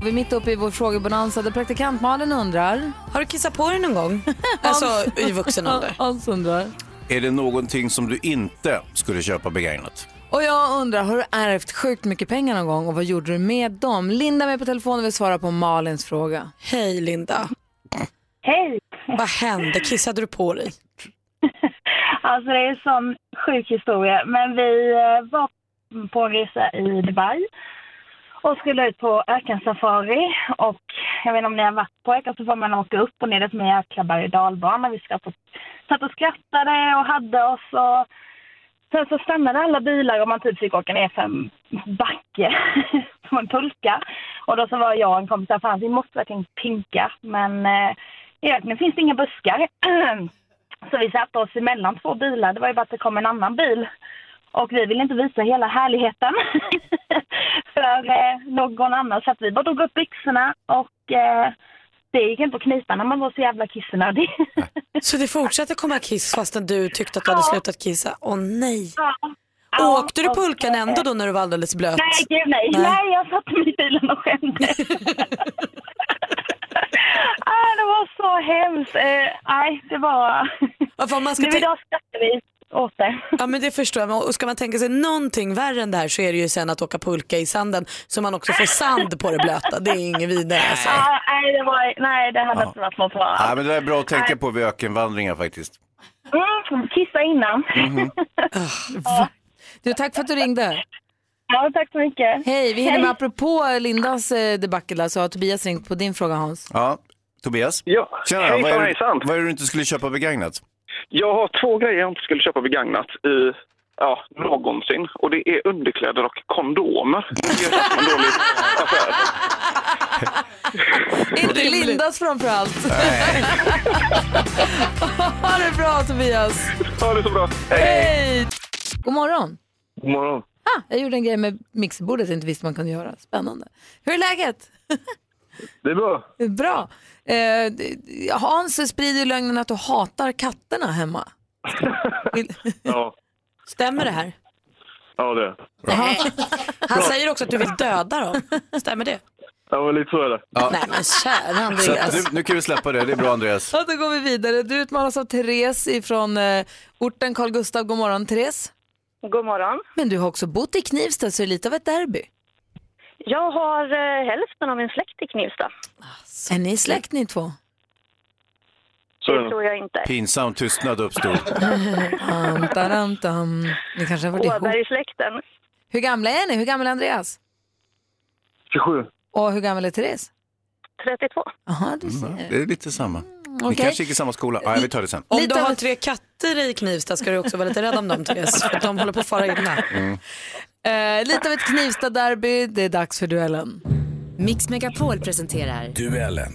Speaker 1: Vi är mitt uppe i vår frågebonanza där praktikantmalen undrar.
Speaker 2: Har du kissat på dig någon gång? Alltså i vuxen ålder.
Speaker 1: Hans undrar.
Speaker 3: Är det någonting som du inte skulle köpa begagnat?
Speaker 1: Och jag undrar, har du ärvt sjukt mycket pengar någon gång och vad gjorde du med dem? Linda är med på telefon och vill svara på Malins fråga.
Speaker 2: Hej Linda.
Speaker 15: Hej!
Speaker 2: Vad hände? Kissade du på dig?
Speaker 15: Alltså det är en sån sjuk historia. Men vi eh, var på en resa i Dubai och skulle ut på ökensafari. Och jag vet inte om ni har varit på ökensafari, man åker upp och ner med jäkla berg och dalbana. Vi satt och, satt och skrattade och hade oss. Och sen så stannade alla bilar och man typ fick åka ner för en backe som en pulka. Och då så var jag och en kompis där, fan vi måste verkligen pinka. Men eh, i öknen finns det inga buskar. Så vi satte oss emellan två bilar. Det var ju bara att det kom en annan bil. Och vi ville inte visa hela härligheten för eh, någon annan. Så att vi bara drog upp byxorna och eh, det gick inte att knipa när man var så jävla kissnödig.
Speaker 2: Så det fortsatte komma kiss fastän du tyckte att du hade slutat kissa? Åh nej.
Speaker 15: Ja,
Speaker 2: Åkte du
Speaker 15: och-
Speaker 2: pulkan ändå då när du var alldeles blöt?
Speaker 15: Nej, gud nej. Nej, jag satt mig i bilen och skämde. ah, det var så hemskt. Eh, Nej, det var...
Speaker 2: man ska
Speaker 15: nu
Speaker 2: tän-
Speaker 15: idag skrattar vi åt det.
Speaker 2: Ja men det förstår jag. Men- Och ska man tänka sig någonting värre än det här så är det ju sen att åka pulka i sanden så man också får sand på det blöta. Det är inget vidare alltså.
Speaker 15: Ah, nej, det var, nej, det hade
Speaker 3: Ja.
Speaker 15: inte varit något bra.
Speaker 3: Nej, men det där är bra att tänka på vid ökenvandringar faktiskt. Mhm.
Speaker 15: Mm, kissa innan.
Speaker 2: Mm.
Speaker 1: Du, tack för att du ringde.
Speaker 15: Ja, tack så mycket.
Speaker 1: Hej, vi hinner
Speaker 15: Hej.
Speaker 1: med apropå Lindas eh, debacle där, så har Tobias ringt på din fråga Hans.
Speaker 3: Ja, Tobias?
Speaker 16: Ja,
Speaker 3: Tjena,
Speaker 16: hejsan,
Speaker 3: vad, är du,
Speaker 16: hejsan.
Speaker 3: vad är det du inte skulle köpa begagnat?
Speaker 16: Jag har två grejer jag inte skulle köpa begagnat i ja, någonsin. Och det är underkläder och kondomer. Det är en dålig affär.
Speaker 1: Inte Lindas framförallt. ha det bra Tobias.
Speaker 16: Ha det så bra.
Speaker 1: Hej! God morgon.
Speaker 16: God morgon.
Speaker 1: Ah, jag gjorde en grej med mixerbordet jag inte visste man kunde göra. Spännande. Hur är läget?
Speaker 16: Det är bra.
Speaker 1: Bra. Eh, d- Hans sprider ju lögnen att du hatar katterna hemma.
Speaker 16: Ja,
Speaker 2: Stämmer det här?
Speaker 16: ja det.
Speaker 2: Han säger också att du vill döda dem. Stämmer det?
Speaker 16: Ja, men lite så är det.
Speaker 2: Nej men kära
Speaker 3: Så att,
Speaker 2: Andreas.
Speaker 3: nu, nu kan vi släppa det, det är bra Andreas.
Speaker 1: Ja, då går vi vidare. Du utmanas av Therese ifrån eh, orten Carl Gustav. God morgon Therese.
Speaker 17: God morgon.
Speaker 1: Men du har också bott i Knivsta så det är lite av ett derby.
Speaker 17: Jag har eh, hälften av min släkt i Knivsta.
Speaker 1: Är ni släkt ni två?
Speaker 3: Så
Speaker 17: det tror jag inte.
Speaker 3: Pinsam tystnad uppstod.
Speaker 1: Tam, taram, tam. Ni kanske har varit ihop.
Speaker 17: Åbergsläkten.
Speaker 1: Hur gamla är ni? Hur gammal är Andreas?
Speaker 16: 27.
Speaker 1: Och hur gammal är Therese?
Speaker 17: 32.
Speaker 1: Jaha, du
Speaker 3: Mm, ja, det är lite samma. Ni
Speaker 2: okej.
Speaker 3: kanske gick i samma skola? Ja, vi tar det sen.
Speaker 2: Om du har tre katter i Knivsta ska du också vara lite rädd om dem Therese, för de håller på att fara illa.
Speaker 3: Mm.
Speaker 1: Eh, lite av ett Knivsta-derby. Det är dags för duellen.
Speaker 10: Mix Megapol presenterar
Speaker 18: Duellen.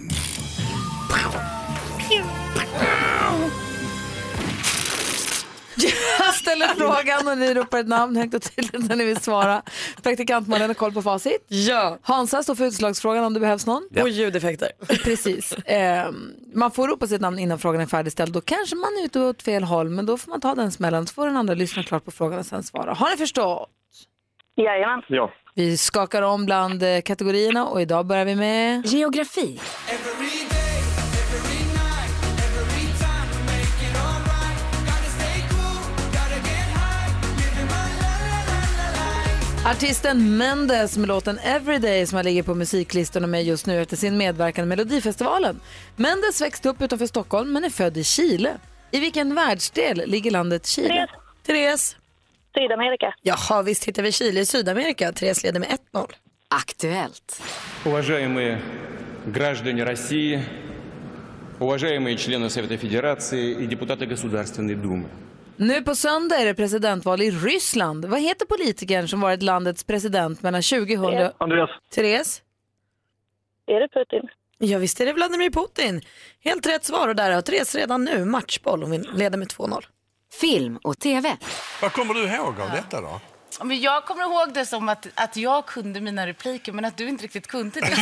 Speaker 1: Jag ställer frågan och ni ropar ett namn högt och tydligt när ni vill svara. Praktikantmannen har koll på facit.
Speaker 2: Ja.
Speaker 1: Hansa står för utslagsfrågan om det behövs någon.
Speaker 2: Och ljudeffekter.
Speaker 1: Precis. Ehm, man får ropa sitt namn innan frågan är färdigställd. Då kanske man är ute åt fel håll, men då får man ta den smällen. Så får den andra lyssna klart på frågan och sen svara. Har ni förstått?
Speaker 17: Jajamän.
Speaker 16: Ja.
Speaker 1: Vi skakar om bland eh, kategorierna och idag börjar vi med... Geografi. Artisten Mendes med låten Everyday som han ligger på musiklistorna med just nu efter sin medverkan i Melodifestivalen. Mendes växte upp utanför Stockholm men är född i Chile. I vilken världsdel ligger landet Chile?
Speaker 2: Therese.
Speaker 17: Sydamerika.
Speaker 2: Jaha, visst hittar vi Chile i Sydamerika. Therese leder med 1-0.
Speaker 10: Aktuellt.
Speaker 6: Уважаемые граждане России, уважаемые члены Совета Федерации и депутаты Государственной Думы.
Speaker 1: Nu på söndag är det presidentval i Ryssland. Vad heter politikern som varit landets president mellan 2000 och...
Speaker 16: Andreas.
Speaker 2: Therese?
Speaker 17: Är det Putin?
Speaker 2: Ja, visst är det Vladimir Putin. Helt rätt svar och där har Therese redan nu matchboll. Hon vinner- leder med 2-0.
Speaker 10: Film och TV.
Speaker 18: Vad kommer du ihåg av detta då?
Speaker 19: Men jag kommer ihåg det som att, att jag kunde mina repliker, men att du inte riktigt kunde det.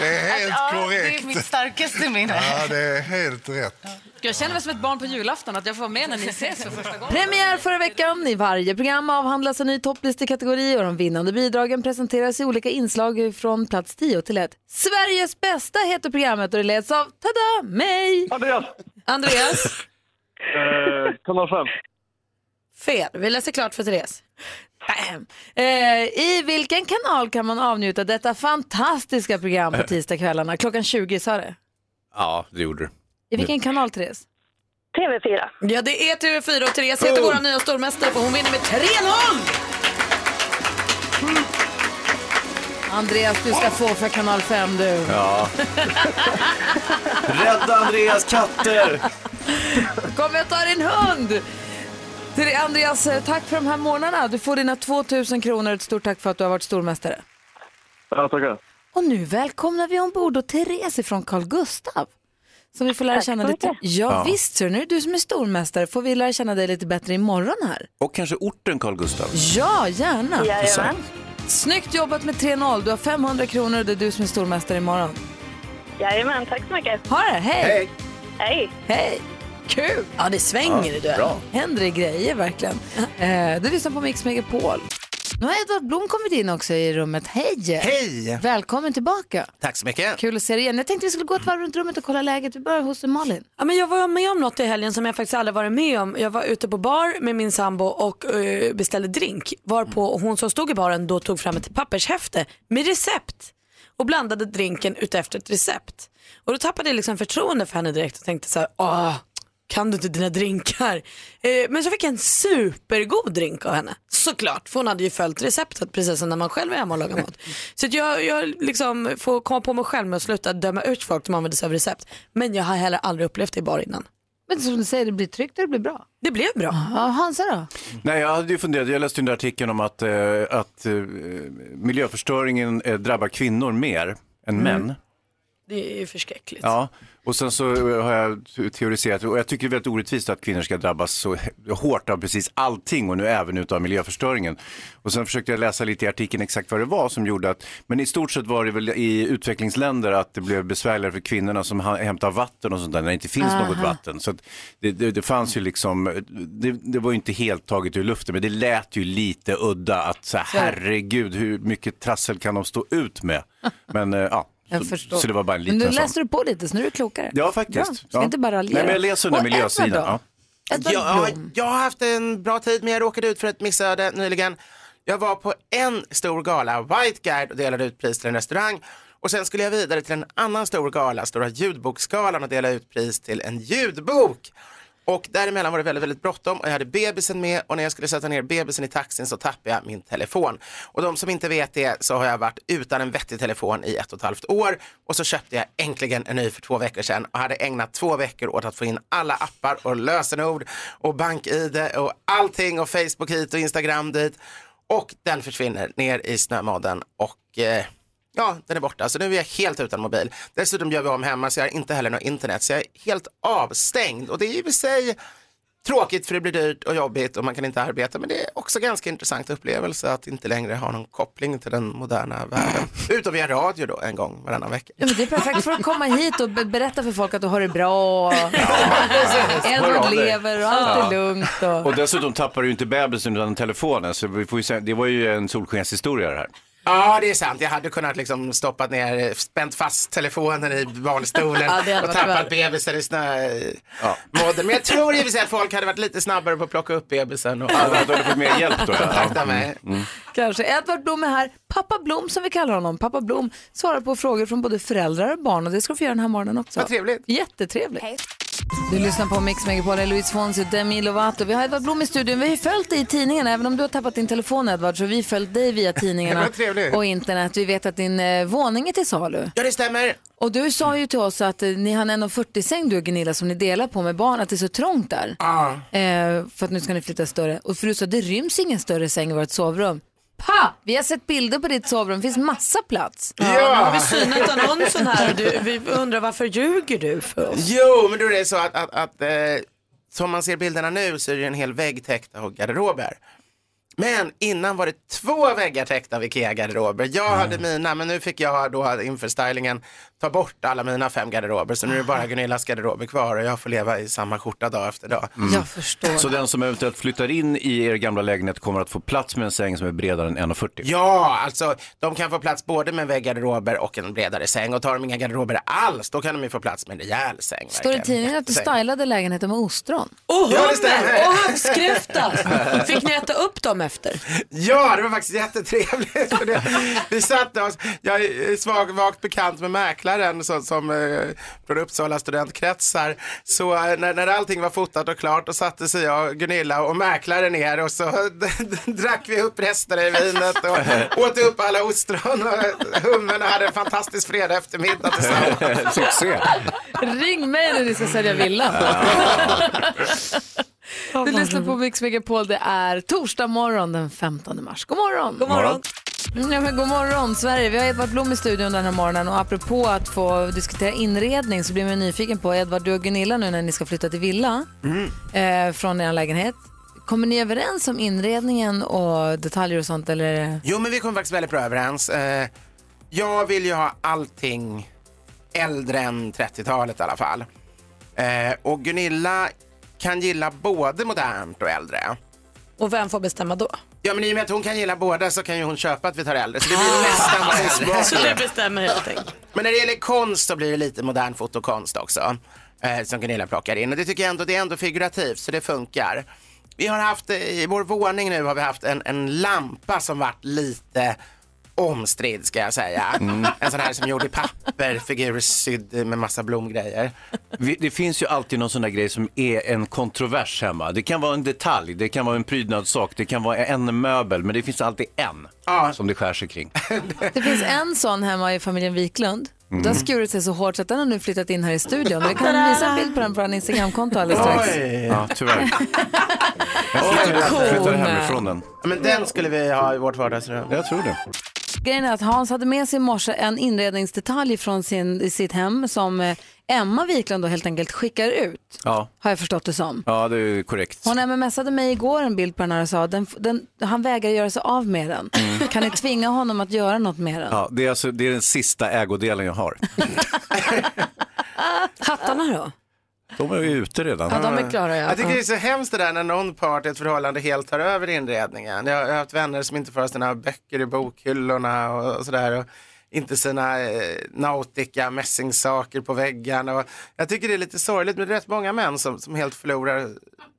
Speaker 18: Det är helt
Speaker 19: Att, ja,
Speaker 18: korrekt.
Speaker 19: det är mitt starkaste minne.
Speaker 18: Ja, det är helt rätt.
Speaker 20: Jag känner mig som ett barn på julafton att jag får vara med när ni ses för första gången.
Speaker 1: Premiär förra veckan. I varje program avhandlas en ny topplistekategori och de vinnande bidragen presenteras i olika inslag från plats 10 till 1. Sveriges bästa heter programmet och det leds av, tada, mig!
Speaker 16: Andreas!
Speaker 1: Andreas.
Speaker 16: Eh, kanal 5.
Speaker 2: Fel. Vi läser klart för Therese.
Speaker 1: Bam. Eh, I vilken kanal kan man avnjuta detta fantastiska program på tisdagskvällarna? Klockan 20 sa det.
Speaker 3: Ja, det gjorde du.
Speaker 1: I vilken kanal, Therese?
Speaker 17: TV4.
Speaker 2: Ja, det är TV4 och Therese heter vår nya stormästare för hon vinner med 3-0!
Speaker 1: Andreas, du ska få för kanal 5 du.
Speaker 3: Ja. Rädda Andreas katter!
Speaker 1: Kom jag tar din hund! Till Andreas, eh, tack för de här månaderna. Du får dina 2000 kronor. Ett stort tack för att du har varit stormästare.
Speaker 16: Ja, tackar.
Speaker 1: Och nu välkomnar vi ombord och Therese från Carl Gustav. Som vi får lära
Speaker 19: Tack så
Speaker 1: känna lite. Ja,
Speaker 19: mycket.
Speaker 3: Ja.
Speaker 1: visst, så nu är det du som är stormästare. Får vi lära känna dig lite bättre imorgon här?
Speaker 3: Och kanske orten Carl Gustav.
Speaker 1: Ja, gärna.
Speaker 3: Jajamän.
Speaker 1: Snyggt jobbat med 3-0. Du har 500 kronor och det är du som är stormästare imorgon.
Speaker 17: Jajamän, tack så mycket.
Speaker 1: Ha det, hej! Hej!
Speaker 17: Hej!
Speaker 1: Hej! Kul! Ja, det svänger
Speaker 2: Ja,
Speaker 1: i duellen.
Speaker 2: bra.
Speaker 1: händer det grejer verkligen. Eh, du lyssnar på Mix Megapol. Nu har Edvard Blom kommit in också i rummet. Hej!
Speaker 21: Hej!
Speaker 1: Välkommen tillbaka.
Speaker 21: Tack så mycket.
Speaker 1: Kul att se dig igen. Jag tänkte vi skulle gå ett varv runt rummet och kolla läget. Vi börjar hos Malin.
Speaker 2: Ja, men jag var med om något i helgen som jag faktiskt aldrig varit med om. Jag var ute på bar med min sambo och eh, beställde drink. Varpå hon som stod i baren då tog fram ett pappershäfte med recept och blandade drinken utefter ett recept. Och då tappade jag liksom förtroende för henne direkt och tänkte så här, åh, kan du inte dina drinkar? Eh, men så fick jag en supergod drink av henne. Såklart, för hon hade ju följt receptet precis som när man själv är hemma och lagar mat. Så att jag, jag liksom får komma på mig själv med att sluta döma ut folk som använder sig av recept. Men jag har heller aldrig upplevt det i bar innan.
Speaker 1: Men som du säger, det blir tryggt och det blir bra.
Speaker 2: Det blev bra.
Speaker 1: Ja, Hansa då?
Speaker 3: Nej, jag hade ju funderat, jag läste den där artikeln om att, eh, att eh, miljöförstöringen eh, drabbar kvinnor mer än män.
Speaker 2: Det är ju förskräckligt.
Speaker 3: Ja, och sen så har jag teoriserat, och jag tycker det är väldigt orättvist att kvinnor ska drabbas så hårt av precis allting och nu även utav miljöförstöringen. Och sen försökte jag läsa lite i artikeln exakt vad det var som gjorde att, men i stort sett var det väl i utvecklingsländer att det blev besvärligare för kvinnorna som ha- hämtar vatten och sånt där när det inte finns
Speaker 9: Aha.
Speaker 3: något vatten. Så att det, det, det fanns ju liksom, det, det var ju inte helt taget ur luften, men det lät ju lite udda att så här,
Speaker 1: Så är det.
Speaker 3: herregud, hur mycket trassel kan de stå ut med? Men eh, ja,
Speaker 1: Jag
Speaker 3: så,
Speaker 1: förstår.
Speaker 3: så det var bara en
Speaker 1: Men
Speaker 3: liten
Speaker 1: nu
Speaker 3: sån.
Speaker 1: läste du på lite, så nu är du klokare.
Speaker 3: Ja, faktiskt.
Speaker 1: Bra. Ska
Speaker 3: ja.
Speaker 1: inte bara raljera.
Speaker 3: Nej, men jag läser under
Speaker 1: Och
Speaker 3: miljösidan.
Speaker 1: Edvard då?
Speaker 3: Ja.
Speaker 1: Edvard
Speaker 22: jag,
Speaker 1: Blom.
Speaker 22: jag har haft en bra tid men jag råkade ut för ett missöde nyligen. Jag var på en stor gala, White Guide, och delade ut pris till en restaurang. Och sen skulle jag vidare till en annan stor gala, Stora ljudboksgalan, och dela ut pris till en ljudbok. Och däremellan var det väldigt, väldigt bråttom och jag hade bebisen med och när jag skulle sätta ner bebisen i taxin så tappade jag min telefon. Och de som inte vet det så har jag varit utan en vettig telefon i ett och ett halvt år och så köpte jag äntligen en ny för två veckor sedan och hade ägnat två veckor åt att få in alla appar och lösenord och bank-id och allting och Facebook hit och Instagram dit. Och den försvinner ner i snömodden och eh, Ja, den är borta, så nu är jag helt utan mobil. Dessutom gör vi om hemma så jag har inte heller något internet, så jag är helt avstängd. Och det är i och för sig tråkigt för det blir dyrt och jobbigt och man kan inte arbeta, men det är också ganska intressant upplevelse att inte längre ha någon koppling till den moderna världen. Utom via radio då, en gång varannan vecka.
Speaker 1: Ja, men det är perfekt för att komma hit och be- berätta för folk att du har det bra.
Speaker 3: Hör av
Speaker 1: Edward
Speaker 3: dig.
Speaker 1: lever och allt är
Speaker 3: Ja.
Speaker 1: lugnt. Och...
Speaker 3: Och dessutom tappar du ju inte bebisen utan telefonen, så vi får ju säga, det var ju en solskenshistoria det här.
Speaker 22: Ja, det är sant. Jag hade kunnat liksom stoppat ner, spänt fast telefonen i barnstolen
Speaker 1: Ja, det hade
Speaker 22: och
Speaker 1: varit
Speaker 22: tappat
Speaker 1: värt.
Speaker 22: bebisen i snömodden.
Speaker 3: Ja.
Speaker 22: Men jag tror i och för sig att folk hade varit lite snabbare på att plocka upp bebisen. Och...
Speaker 3: Ja, då hade du fått mer hjälp då, ja. Mm,
Speaker 22: Kontakta
Speaker 3: Ja.
Speaker 22: mig.
Speaker 1: Kanske. Edvard Blom är här. Pappa Blom som vi kallar honom. Pappa Blom svarar på frågor från både föräldrar och barn och det ska du få göra den här morgonen också.
Speaker 22: Vad trevligt.
Speaker 1: Jättetrevligt. Du lyssnar på Mix Megapol, jag är Louise Fonzie och Demi Lovato. Vi har Edvard Blom i studion. Vi har ju följt dig i tidningen, även om du har tappat din telefon Edvard, så har vi följt dig via tidningarna
Speaker 22: Vad trevligt.
Speaker 1: och internet. Vi vet att din eh, våning är till salu.
Speaker 22: Ja, det stämmer.
Speaker 1: Och du sa ju till oss att eh, ni har en 1,40-säng du och Gunilla som ni delar på med barn, att det är så trångt där.
Speaker 22: Ah.
Speaker 1: Eh, för att nu ska ni flytta större. Och för du sa, det ryms ingen större säng i vårt sovrum. Pa! Vi har sett bilder på ditt sovrum, det finns massa plats.
Speaker 2: Ja, nu har vi synat annonsen här och du, vi undrar varför ljuger du för oss?
Speaker 22: Jo, men då är det så att, att, att eh, som man ser bilderna nu så är det en hel vägg täckt av garderober. Men innan var det två väggar täckta av Ikea-garderober. Jag
Speaker 2: Mm.
Speaker 22: hade mina, men nu fick jag då inför stylingen ta bort alla mina fem garderober. Så nu är det bara Gunillas garderober kvar och jag får leva i samma skjorta dag efter dag.
Speaker 1: Mm. Jag förstår.
Speaker 3: Så den som eventuellt flyttar in i er gamla lägenhet kommer att få plats med en säng som är bredare än 1,40?
Speaker 22: Ja, alltså de kan få plats både med en väggarderober och en bredare säng. Och tar de inga garderober alls, då kan de ju få plats med en rejäl säng.
Speaker 1: Står det i
Speaker 22: verkligen.
Speaker 1: tidningen att du
Speaker 22: Jättesäng.
Speaker 1: stylade lägenheten med ostron?
Speaker 2: Och
Speaker 22: Ja, det stämmer.
Speaker 2: hummer och havskräfta. Fick ni äta upp dem efter?
Speaker 22: Ja, det var faktiskt jättetrevligt. För det, vi satte oss, jag är eh, svag, vagt bekant med mäklaren som, som eh, från Uppsala studentkretsar. Så eh, när, när allting var fotat och klart då satte sig jag, och Gunilla och mäklaren ner och så drack vi upp resten i vinet och åt upp alla ostron och hummen och hade en fantastisk fredag eftermiddag tillsammans.
Speaker 3: Succé.
Speaker 1: Ring mig när ni ska sälja villa. du lyssnar på Mix Megapol. Det är torsdag morgon den 15 mars. God morgon!
Speaker 2: God morgon.
Speaker 1: Ja, men god morgon Sverige. Vi har Edvard Blom i studion den här morgonen och apropå att få diskutera inredning så blir man nyfiken på Edvard, du och Gunilla nu när ni ska flytta till villa
Speaker 22: Mm.
Speaker 1: eh, från er lägenhet. Kommer ni överens om inredningen och detaljer och sånt
Speaker 2: Eh.
Speaker 1: eller?
Speaker 22: Jo, men vi kom faktiskt väldigt bra överens. Eh, jag vill ju ha allting äldre än 30-talet i alla fall. Eh, och Gunilla kan gilla både modernt och äldre.
Speaker 2: Och vem får bestämma då?
Speaker 22: Ja, men i och med att hon kan gilla båda så kan ju hon köpa att vi tar äldre. Så det blir nästan vad äldre.
Speaker 2: Ah. Så du bestämmer helt enkelt.
Speaker 22: Men när det gäller konst så blir det lite modern fotokonst också. Eh, som Gunilla plockar in. Och det tycker jag ändå, det är ändå figurativt så det funkar. Vi har haft, eh, i vår våning nu har vi haft en, en lampa som varit lite omstridd ska jag säga. En sån här som är gjord i papper, figur sydd med massa blomgrejer.
Speaker 3: Vi- Det finns ju alltid någon sån där grej som är en kontrovers hemma. Det kan vara en detalj, det kan vara en prydnadssak, det kan vara en möbel, men det finns alltid en som det skär sig kring.
Speaker 1: Det finns en sån hemma i familjen Wiklund.
Speaker 3: Mm.
Speaker 1: Den har skurit sig så hårt så att den har nu flyttat in här i studion. Vi kan visa en bild på den på vår Instagramkonto alldeles strax.
Speaker 3: Ja, tyvärr. Jag flyttade- jag flyttade hemifrån den.
Speaker 22: Men den skulle vi ha i vårt vardagsrum.
Speaker 3: Jag tror det.
Speaker 1: Grejen är att Hans hade med sig i morse en inredningsdetalj från sin, sitt hem som eh, Emma Wiklund då helt enkelt skickar ut,
Speaker 3: Ja.
Speaker 1: har jag förstått det som.
Speaker 3: ja, det är korrekt.
Speaker 1: Hon mmsade mig igår en bild på den här och sa den, den, han vägrar göra sig av med den. Kan ni tvinga honom att göra något med den?
Speaker 3: Mm. Ja, det, är alltså, det är den sista ägodelen jag har.
Speaker 1: Hattarna då?
Speaker 3: De är ju ute redan.
Speaker 22: Ah. Jag tycker det är så hemskt det där när någon part i ett förhållande helt tar över inredningen. Jag jag har haft vänner som inte får ha sina böcker i bokhyllorna och och sådär. Och inte sina eh, nautica mässingssaker på väggen. Och jag tycker det är lite sorgligt men det är rätt många män som, som helt förlorar.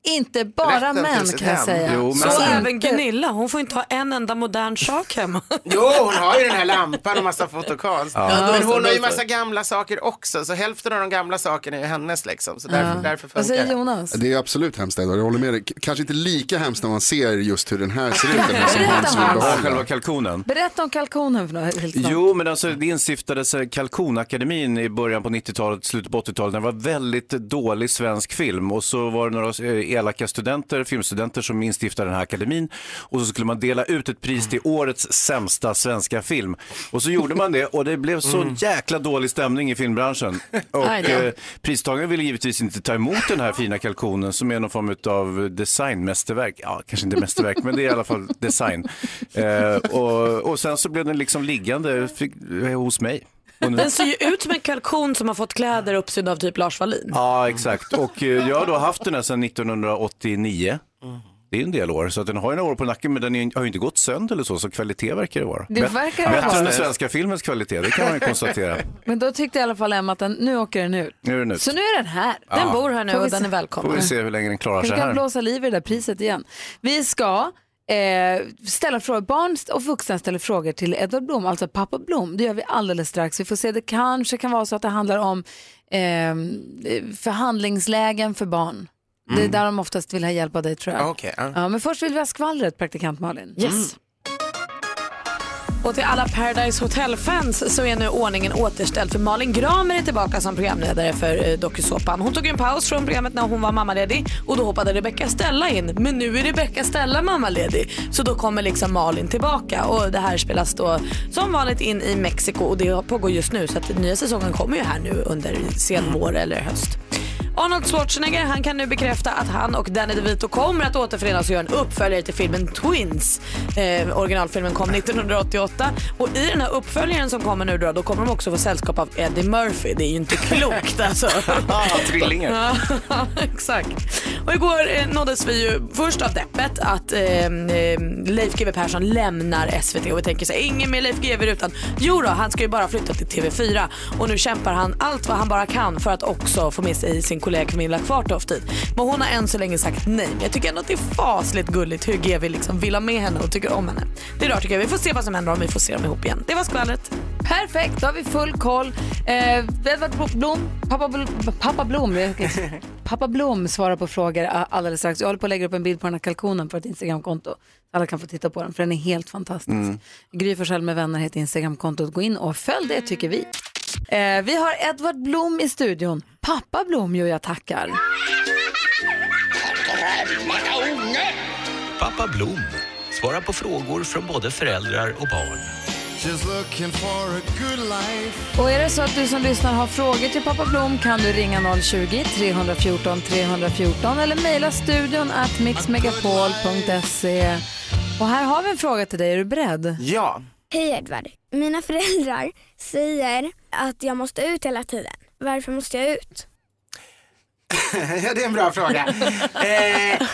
Speaker 1: Inte bara
Speaker 22: Rätten till
Speaker 1: män
Speaker 22: sitt
Speaker 1: kan jag
Speaker 22: hem.
Speaker 1: säga.
Speaker 22: Jo, men-
Speaker 2: Så
Speaker 22: Inte-
Speaker 2: även Gunilla, hon får inte ha en enda modern sak hemma.
Speaker 22: Jo, hon har ju den här lampan och massa fotokonst.
Speaker 2: Ja.
Speaker 22: Men
Speaker 2: Ja,
Speaker 22: hon har ju
Speaker 2: just det.
Speaker 22: massa gamla saker också. Så hälften av de gamla sakerna är ju hennes liksom. Så därför, därför funkar
Speaker 4: Alltså,
Speaker 1: Vad säger
Speaker 22: det.
Speaker 1: Jonas?
Speaker 4: Det är absolut hemskt, Edward. jag håller med dig. K- Kanske inte lika hemskt när man ser just hur den här ser ut. Den här som
Speaker 1: Berätta,
Speaker 4: Hans vill
Speaker 1: Hans.
Speaker 4: behålla.
Speaker 3: Själva kalkonen.
Speaker 1: Berätta om kalkonen för något helt snart.
Speaker 3: Jo, men alltså det instiftades eh, Kalkonakademin i början på 90-talet, slutet på 80-talet. Det var väldigt dålig svensk film och så var det några eh, elaka studenter, filmstudenter som instiftade den här akademin och så skulle man dela ut ett pris till årets sämsta svenska film. Och så gjorde man det och det blev så
Speaker 22: Mm.
Speaker 3: jäkla dålig stämning i filmbranschen. Och
Speaker 23: Aj då.
Speaker 3: eh, pristagaren ville givetvis inte ta emot den här fina kalkonen som är någon form av designmästerverk. Ja, kanske inte mästerverk, men det är i alla fall design. Eh, och, och sen så blev den liksom liggande fick, eh, hos mig. Och nu-
Speaker 2: Den ser ju ut som en kalkon som har fått kläder uppsydda av typ Lars Wallin.
Speaker 3: Ja, exakt. Och eh, jag har då haft den här sedan 1989. Det är en del år, så att den har ju några år på nacken, men den är, har ju inte gått sönder eller så, så kvalitet verkar det vara.
Speaker 1: Det
Speaker 3: Bet-
Speaker 1: verkar det
Speaker 3: Bättre
Speaker 1: vara.
Speaker 3: än den svenska filmens kvalitet, det kan man ju konstatera.
Speaker 1: Men då tyckte i alla fall Emma att den, nu åker den ut.
Speaker 3: Nu är den ut.
Speaker 1: Så nu är den här.
Speaker 3: Ja. Den bor här nu
Speaker 1: Får vi
Speaker 3: och den
Speaker 1: se-
Speaker 3: är Får vi se hur länge den klarar
Speaker 1: Kanske
Speaker 3: sig
Speaker 1: kan
Speaker 3: här.
Speaker 1: blåsa liv i det där priset igen. Vi ska eh, ställa frågor. Barn st- och vuxna ställer frågor till Edvard Blom, alltså pappa Blom. Det gör vi alldeles strax. Vi får se, det kanske kan vara så att det handlar om eh, förhandlingslägen för barn. Det är
Speaker 22: Mm.
Speaker 1: där de oftast vill ha hjälp av dig tror jag.
Speaker 22: Ja, okej, ja.
Speaker 1: ja, men först vill vi ha skvallret, praktikant Malin.
Speaker 2: Yes. Och till alla Paradise Hotel-fans så är nu ordningen återställd för Malin Gramer är tillbaka som programledare för eh, dokusåpan. Hon tog ju en paus från programmet när hon var mammaledig och då hoppade Rebecca Stella in. Men nu är Rebecca Stella mammaledig så då kommer liksom Malin tillbaka och det här spelas då som vanligt in i Mexiko och det pågår just nu så att den nya säsongen kommer ju här nu under sen vår eller höst. Arnold Schwarzenegger han kan nu bekräfta att han och Danny DeVito kommer att återförenas och göra en uppföljare till filmen Twins. Eh, originalfilmen kom 1988 och i den här uppföljaren som kommer nu då, då kommer de också få sällskap av Eddie Murphy. Det är ju inte klokt alltså.
Speaker 8: Ah,
Speaker 3: Trillingar.
Speaker 2: Ja, exakt. Och igår eh, nåddes vi ju först av deppet att eh, eh, Leif GW Persson lämnar SVT och vi tänker så här, ingen mer Leif GW utan jo då, han ska ju bara flytta till TV4 och nu kämpar han allt vad han bara kan för att också få med sig sin kollega Camilla Kvartoft dit. Men hon har än så länge sagt nej. Men jag tycker ändå att det är fasligt gulligt hur GW liksom vill ha med henne och tycker om henne. Det är rart tycker jag. Vi får se vad som händer om vi får se dem ihop igen. Det var skvallret.
Speaker 1: Perfekt, då har vi full koll. Eh, Edvard Blom, pappa, Bl- pappa Blom, pappa Blom svarar på frågor a- alldeles strax. Jag håller på att lägga upp en bild på den här kalkonen på ett Instagramkonto. Alla kan få titta på den, för den är helt fantastisk.
Speaker 23: Mm.
Speaker 1: Gry Forssell med vänner heter Instagramkontot. Gå in och följ det tycker vi. Eh, vi har Edvard Blom i studion. Pappa Blom ju jag tackar.
Speaker 9: Pappa Blom svarar på frågor från både föräldrar och barn.
Speaker 1: Och är det så att du som lyssnar har frågor till pappa Blom kan du ringa 020-314 314 eller mejla studion at mixmegapol.se. Och här har vi en fråga till dig, är du beredd?
Speaker 22: Ja.
Speaker 21: Hej Edvard. Mina föräldrar säger att jag måste ut hela tiden. Varför måste jag ut?
Speaker 22: Ja, det är en bra fråga. Eh,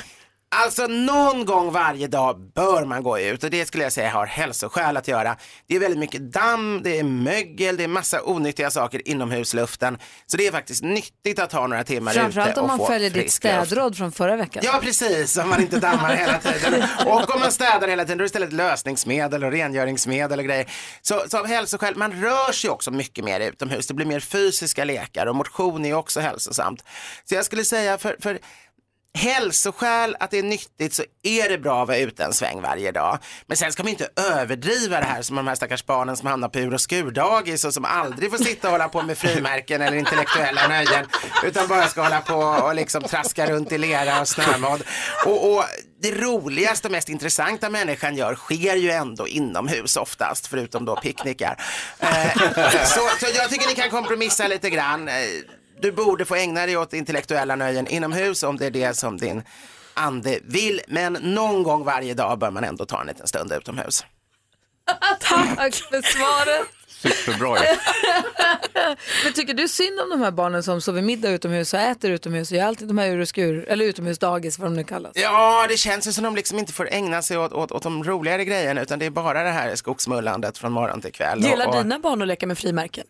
Speaker 22: alltså någon gång varje dag bör man gå ut och det skulle jag säga har hälsoskäl att göra. Det är väldigt mycket damm, det är mögel, det är massa onyttiga saker inomhusluften. Så det är faktiskt nyttigt att ha några timmar
Speaker 1: Framförallt
Speaker 22: ute
Speaker 1: om
Speaker 22: och
Speaker 1: man
Speaker 22: få
Speaker 1: följer ditt
Speaker 22: frisk luft.
Speaker 1: städråd från förra veckan.
Speaker 22: Ja precis, om man inte dammar hela tiden. Och om man städar hela tiden då är det istället lösningsmedel och rengöringsmedel och grejer. Så, så av hälsoskäl, man rör sig också mycket mer utomhus. Det blir mer fysiska lekar och motion är också hälsosamt. Så jag skulle säga för, för hälsoskäl, att det är nyttigt så är det bra att vara ute en sväng varje dag. Men sen ska man inte överdriva det här som de här stackars barnen som hamnar på ur och skurdagis och som aldrig får sitta och hålla på med frimärken eller intellektuella nöjen utan bara ska hålla på och liksom traska runt i lera och snömodd. Och, och det roligaste och mest intressanta människan gör sker ju ändå inomhus oftast, förutom då picknickar. Eh, så, så jag tycker ni kan kompromissa lite grann. Eh, Du borde få ägna dig åt intellektuella nöjen inomhus om det är det som din ande vill. Men någon gång varje dag bör man ändå ta en liten stund utomhus.
Speaker 1: Tack för svaret.
Speaker 3: Superbra ju.
Speaker 1: Men tycker du synd om de här barnen som sover middag utomhus och äter utomhus och gör alltid de här ur och skur, eller utomhusdagis vad de nu kallas?
Speaker 22: Ja, det känns ju som de liksom inte får ägna sig åt, åt, åt de roligare grejerna utan det är bara det här skogsmullandet från morgon till kväll.
Speaker 2: Gillar
Speaker 22: Och- och-
Speaker 2: dina barn att leka med frimärken?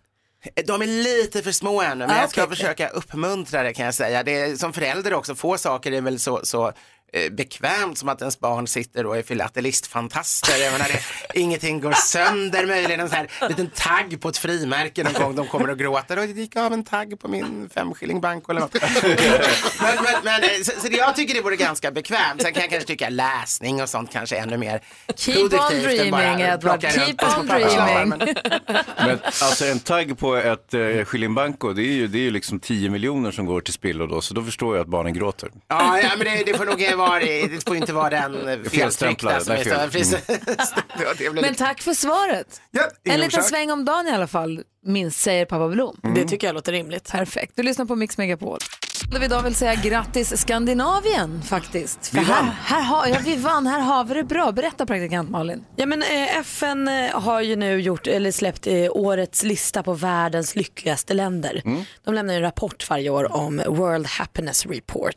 Speaker 22: De är lite för små ännu, men
Speaker 2: Ah,
Speaker 22: jag ska
Speaker 2: okej, okej.
Speaker 22: försöka uppmuntra det kan jag säga. Det är, som förälder också, få saker är väl så, så eh, bekvämt som att ens barn sitter och är filatelistfantaster. Jag menar, det, ingenting går sönder, möjligen en sån här liten tagg på ett frimärke någon gång de kommer och gråter. Och det gick av en tagg på min femskillingbank eller något. men, men, men, eh, så, så det- jag tycker det vore ganska bekvämt. Sen kan jag kanske tycka läsning och sånt kanske är ännu mer
Speaker 1: Keep on
Speaker 22: produktivt än bara
Speaker 1: dreaming, Edward.
Speaker 22: plocka
Speaker 1: Keep
Speaker 22: runt oss på
Speaker 1: on
Speaker 22: papperskorgen.
Speaker 1: dreaming.
Speaker 22: Men-
Speaker 3: Men alltså en tagg på ett eh, skillingbanko, det är ju, det är ju liksom 10 miljoner som går till spillo då, så då förstår jag att barnen gråter.
Speaker 22: Ja, ja men det, det får nog vara, det får ju inte vara den eh,
Speaker 3: Felstämplade,
Speaker 22: feltryckta som är
Speaker 3: där Mm. fel.
Speaker 22: större. Precis. Ja, det blir
Speaker 1: Men
Speaker 22: lite-
Speaker 1: tack för svaret.
Speaker 22: ingen
Speaker 1: en liten
Speaker 22: orsak.
Speaker 1: sväng om dagen i alla fall, minst säger pappa Blom.
Speaker 2: Mm. Det tycker jag låter rimligt.
Speaker 1: Perfekt. Du lyssnar på Mix Megapol. Då vi idag vill säga grattis Skandinavien faktiskt. För
Speaker 2: Vi
Speaker 1: Här,
Speaker 2: vann.
Speaker 1: här har, ja, vi vann, här har vi det bra. Berätta praktikant Malin.
Speaker 2: Ja, men, eh, FN eh, har ju nu gjort, eller släppt eh, årets lista på världens lyckligaste länder. De lämnar ju en rapport varje år om World Happiness Report.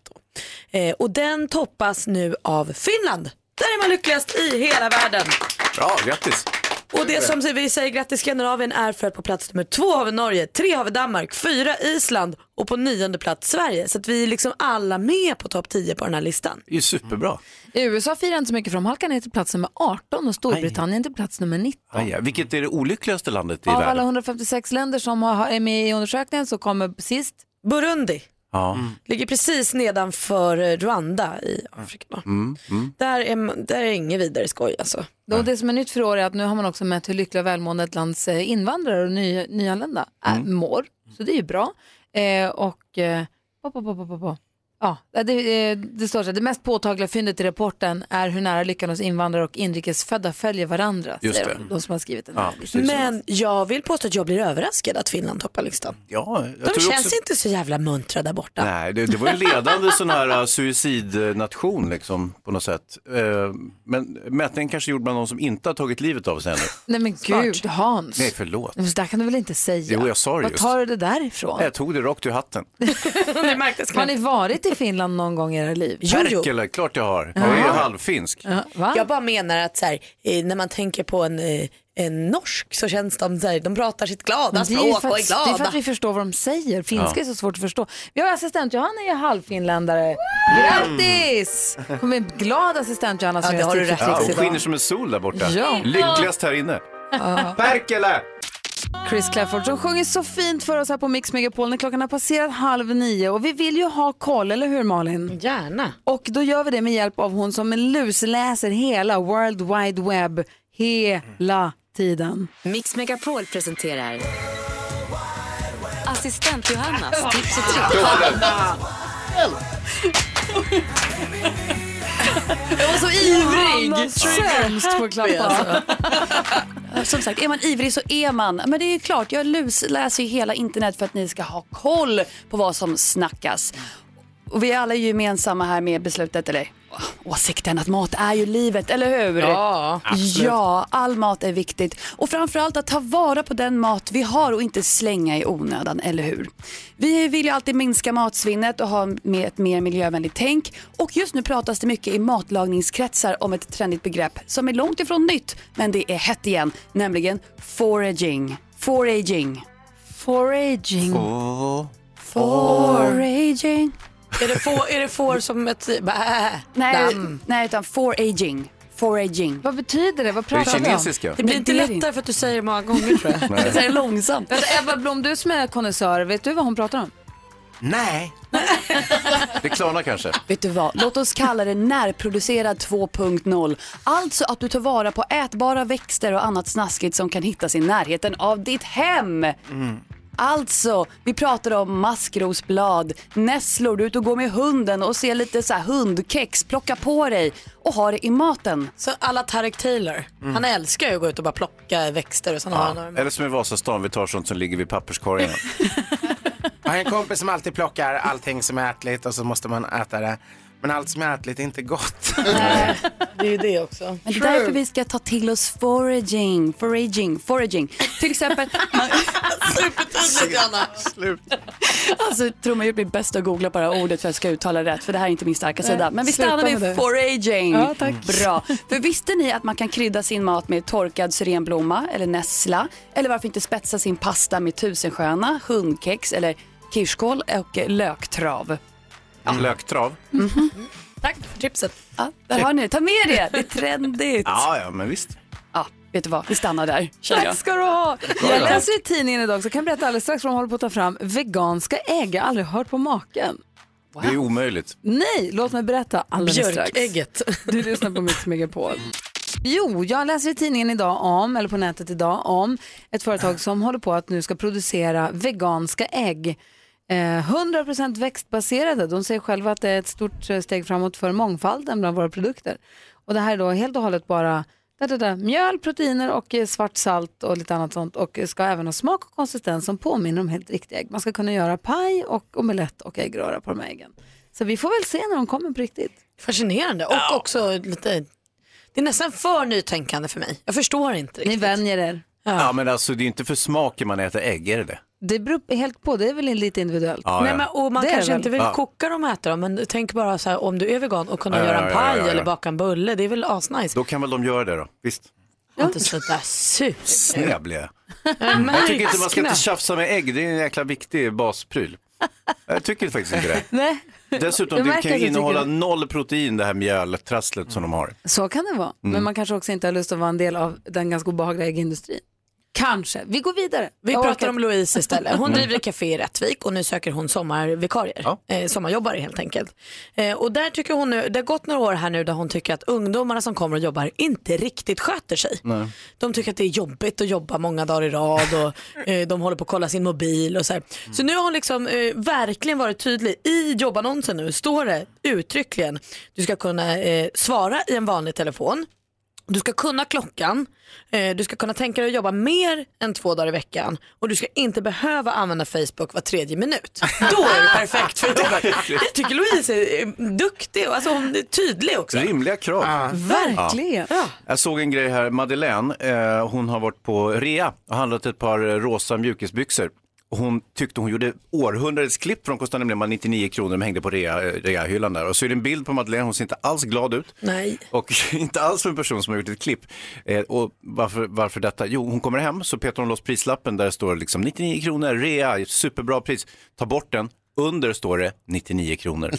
Speaker 2: Eh, och den toppas nu av Finland. Där är man lyckligast i hela världen.
Speaker 3: Bra, grattis.
Speaker 2: Och det som vi säger grattis Skandinavien är för att på plats nummer två har vi Norge, tre har vi Danmark, fyra Island och på nionde plats Sverige. Så att vi är liksom alla med på topp 10 på den här listan.
Speaker 3: Det är ju superbra.
Speaker 1: USA firar inte så mycket för de halkar ner till plats nummer 18 och Storbritannien till plats nummer 19.
Speaker 3: Aj, ja. Vilket är det olyckligaste landet i
Speaker 1: Av alla
Speaker 3: världen?
Speaker 1: 156 länder som har, är med i undersökningen så kommer sist
Speaker 2: Burundi.
Speaker 3: Ja.
Speaker 2: Ligger precis nedanför eh, Rwanda i Afrika.
Speaker 3: Mm, mm.
Speaker 2: Där är, man- där är ingen vidare skoj alltså.
Speaker 1: Då det som är nytt för i år är att nu har man också mätt hur lyckliga och välmående ett lands eh, invandrare och ny, nyanlända är,
Speaker 3: Mm.
Speaker 1: mår. Så det är ju bra. Eh, och, eh, pop, pop, pop, pop, pop. Ja, det, eh, det står så här, det mest påtagliga fyndet i rapporten är hur nära lyckan hos invandrare och inrikesfödda följer varandra.
Speaker 2: Just
Speaker 1: säger
Speaker 2: det.
Speaker 1: De, de som har skrivit den här.
Speaker 2: Ja, Men jag vill påstå att jag blir överraskad att Finland toppar listan.
Speaker 3: Ja, jag
Speaker 2: De
Speaker 3: tror
Speaker 2: känns
Speaker 3: också-
Speaker 2: inte så jävla muntra där borta.
Speaker 3: Nej, det, det var en ledande sån här eh, suicidnation liksom på något sätt. Eh, Men mätningen kanske gjord bland någon som inte har tagit livet av sig ännu.
Speaker 2: Mm.
Speaker 1: Nej men gud Hans.
Speaker 3: Nej, förlåt.
Speaker 1: Men Så där kan du väl inte säga?
Speaker 3: Jo, jag sa det
Speaker 1: Vad
Speaker 3: just.
Speaker 1: tar du det därifrån?
Speaker 3: Nej, Jag tog det rakt ur hatten.
Speaker 1: Har ni varit i Finland någon gång i era liv?
Speaker 3: Perkele, klart jag har. Jag är ju halvfinsk.
Speaker 2: Jag bara menar att så här, eh, när man tänker på en, eh, en norsk så känns de så här, de pratar sitt glada
Speaker 1: Men det är ju
Speaker 2: språk
Speaker 1: för
Speaker 2: och är
Speaker 1: att, det är för
Speaker 2: glada.
Speaker 1: att vi förstår vad de säger. Finska
Speaker 2: Ja.
Speaker 1: är så svårt att förstå. Vi har assistent Johanna är ju halvfinländare. Grattis! Kommer en glad assistent Johanna som
Speaker 2: Mm. Ja,
Speaker 1: gör
Speaker 2: det har du
Speaker 1: tips och
Speaker 3: Ja,
Speaker 1: tricks
Speaker 3: hon skiner
Speaker 1: idag.
Speaker 3: som en sol där borta.
Speaker 1: Ja.
Speaker 3: Lyckligast här inne. Perkele!
Speaker 1: Chris Clafford som sjunger så fint för oss här på Mix Megapol när klockan har passerat halv nio och vi vill ju ha koll, eller hur Malin?
Speaker 2: Gärna.
Speaker 1: Och då gör vi det med hjälp av hon som lusläser hela World Wide Web hela tiden.
Speaker 10: Mix Megapol presenterar Assistent Johannas
Speaker 1: Typ
Speaker 10: tips och tricks.
Speaker 1: Jag var så
Speaker 23: ivrig.
Speaker 1: Sämst på att klappa.
Speaker 23: alltså. Som sagt, är man ivrig så är man. Men det är ju klart, jag lusläser ju hela internet för att ni ska ha koll på vad som snackas. Och vi är alla ju gemensamma här med beslutet, eller åh, åsikten att mat är ju livet, eller hur?
Speaker 2: Ja, absolut.
Speaker 23: Ja, all mat är viktigt. Och framförallt att ta vara på den mat vi har och inte slänga i onödan, eller hur? Vi vill ju alltid minska matsvinnet och ha med ett mer miljövänligt tänk. Och just nu pratas det mycket i matlagningskretsar om ett trendigt begrepp som är långt ifrån nytt, men det är hett igen, nämligen foraging. Foraging.
Speaker 1: Foraging.
Speaker 3: Oh.
Speaker 23: Foraging.
Speaker 2: Är det, får, är det får som ett bä,
Speaker 23: Nej,
Speaker 2: damm?
Speaker 23: nej utan foraging. Foraging.
Speaker 1: Vad betyder det? Vad
Speaker 23: pratar
Speaker 3: pratar vi om? kinesiska?
Speaker 2: Det blir inte lättare för att du säger det många gånger tror jag.
Speaker 3: Nej.
Speaker 23: är långsamt.
Speaker 1: Vänta, Ebba Blom, du som är konnässör, vet du vad hon pratar om?
Speaker 22: Nej.
Speaker 3: Det klarnar kanske.
Speaker 23: Vet du vad, låt oss kalla det närproducerad 2.0. Alltså att du tar vara på ätbara växter och annat snaskigt som kan hittas i närheten av ditt hem. Alltså, vi pratar om maskrosblad, nässlor, du är ute och går med hunden och ser lite så här hundkex, plocka på dig och ha det i maten.
Speaker 2: Så alla Tarek Taylor,
Speaker 3: Mm.
Speaker 2: han älskar ju att gå ut och bara plocka växter och sen har han
Speaker 3: Eller som i Vasastan, vi tar sånt som ligger vid papperskorgen.
Speaker 22: Jag har en kompis som alltid plockar allting som är ätligt och så måste man äta det. Men allt som är ätligt är inte gott.
Speaker 2: Det är ju det också.
Speaker 23: Men det är därför vi ska ta till oss foraging, foraging, foraging. Till exempel,
Speaker 2: Supertydligt Johanna. Slut.
Speaker 23: alltså tror man ju blir bäst att googla bara ordet för att jag ska uttala rätt för det här är inte min starka
Speaker 2: Nej,
Speaker 23: sida. Men vi
Speaker 2: sluta
Speaker 23: stannar
Speaker 2: med det.
Speaker 23: vid foraging.
Speaker 2: Ja, tack.
Speaker 23: Bra. För visste ni att man kan krydda sin mat med torkad syrenblomma eller nässla? Eller varför inte spetsa sin pasta med tusenstjärna, hundkex eller kirskål och eh, löktrav?
Speaker 3: Löktrav.
Speaker 2: Tack för tipset.
Speaker 23: Ja, där har ni det. Ta med det, det är trendigt.
Speaker 3: Ja, ja, men visst.
Speaker 23: Ja, vet du vad, vi stannar där. känner jag.
Speaker 1: Tack ska du ha.
Speaker 23: då.
Speaker 1: Jag läser i tidningen idag så kan jag berätta alldeles strax vad de håller på att ta fram. Veganska ägg, jag har aldrig hört på maken.
Speaker 3: Det är omöjligt.
Speaker 1: Nej, låt mig berätta alldeles strax.
Speaker 2: Björkägget.
Speaker 1: Du lyssnar på Mix Megapol. Jo, jag läser i tidningen idag om, eller på nätet idag om, ett företag som håller på att nu ska producera veganska ägg. Eh, 100% växtbaserade. De säger själva att det är ett stort eh, steg framåt för mångfalden bland våra produkter. Och det här är då helt och hållet bara da, da, da, mjöl, proteiner och eh, svart salt och lite annat sånt. Och eh, ska även ha smak och konsistens som påminner om helt riktiga ägg. Man ska kunna göra paj och omelett och äggröra på de här äggen. Så vi får väl se när de kommer på riktigt.
Speaker 2: Fascinerande och också lite, det är nästan för nytänkande för mig. Jag förstår inte riktigt.
Speaker 1: Ni vänjer er.
Speaker 3: Ja. men alltså det är inte för smaken man äter ägg, är det det?
Speaker 1: Det beror helt på, det är väl lite individuellt.
Speaker 3: Ja,
Speaker 2: Nej,
Speaker 3: ja.
Speaker 2: men, och man
Speaker 1: Det är
Speaker 2: kanske
Speaker 1: väl.
Speaker 2: inte vill
Speaker 3: Ja.
Speaker 2: koka dem och äta dem men tänk bara så här, om du är vegan och kunna
Speaker 3: Ja, ja,
Speaker 2: göra en
Speaker 3: ja,
Speaker 2: paj
Speaker 3: ja, ja, ja.
Speaker 2: eller baka en bulle, det är väl asnice.
Speaker 3: Då kan väl de göra det då, visst?
Speaker 2: Ja. Inte sådär sus.
Speaker 3: Snäv blev jag. Jag tycker inte man ska inte tjafsa med ägg, det är en jäkla viktig baspryl. Jag tycker faktiskt inte det.
Speaker 1: Nej.
Speaker 3: Dessutom,
Speaker 1: Jag
Speaker 3: det
Speaker 1: märker
Speaker 3: kan
Speaker 1: att
Speaker 3: ju
Speaker 1: du tycker
Speaker 3: innehålla
Speaker 1: det.
Speaker 3: noll protein, det här mjöltrasslet som de har.
Speaker 1: Så kan det vara, men
Speaker 3: Mm.
Speaker 1: man kanske också inte har lust att vara en del av den ganska obehagliga äggindustrin. Kanske, vi går vidare.
Speaker 2: Vi
Speaker 1: Jag
Speaker 2: pratar
Speaker 1: orkar
Speaker 2: om
Speaker 1: inte.
Speaker 2: Louise istället.
Speaker 1: Mm.
Speaker 2: Hon driver ett café i Rättvik och nu söker hon sommarvikarier. Eh, sommarjobbare helt enkelt. Eh, och där tycker hon nu, det har gått några år här nu där hon tycker att ungdomarna som kommer och jobbar inte riktigt sköter sig. De tycker att det är jobbigt att jobba många dagar i rad och eh, de håller på att kolla sin mobil och så här. Så nu har hon liksom eh, verkligen varit tydlig. I jobbannonsen nu står det uttryckligen, du ska kunna eh, svara i en vanlig telefon. Du ska kunna klockan, eh, du ska kunna tänka dig att jobba mer än två dagar i veckan och du ska inte behöva använda Facebook var tredje minut. Då är det perfekt för jobbet. Jag tycker Louise är eh, duktig och alltså hon är tydlig också.
Speaker 3: Rimliga krav.
Speaker 1: Verkligen.
Speaker 3: Jag såg en grej här, Madeleine, eh, hon har varit på rea och handlat ett par eh, rosa mjukisbyxor. Hon tyckte hon gjorde århundradets klipp för de kostade nämligen bara 99 kronor, de hängde på rea, eh, reahyllan där. Och så är det en bild på Madeleine, hon ser inte alls glad ut.
Speaker 2: Nej.
Speaker 3: Och inte alls för en person som har gjort ett klipp. Eh, och varför, varför detta? Jo, hon kommer hem så petar hon loss prislappen där det står liksom 99 kronor, rea, superbra pris. Ta bort den, under står det 99 kronor.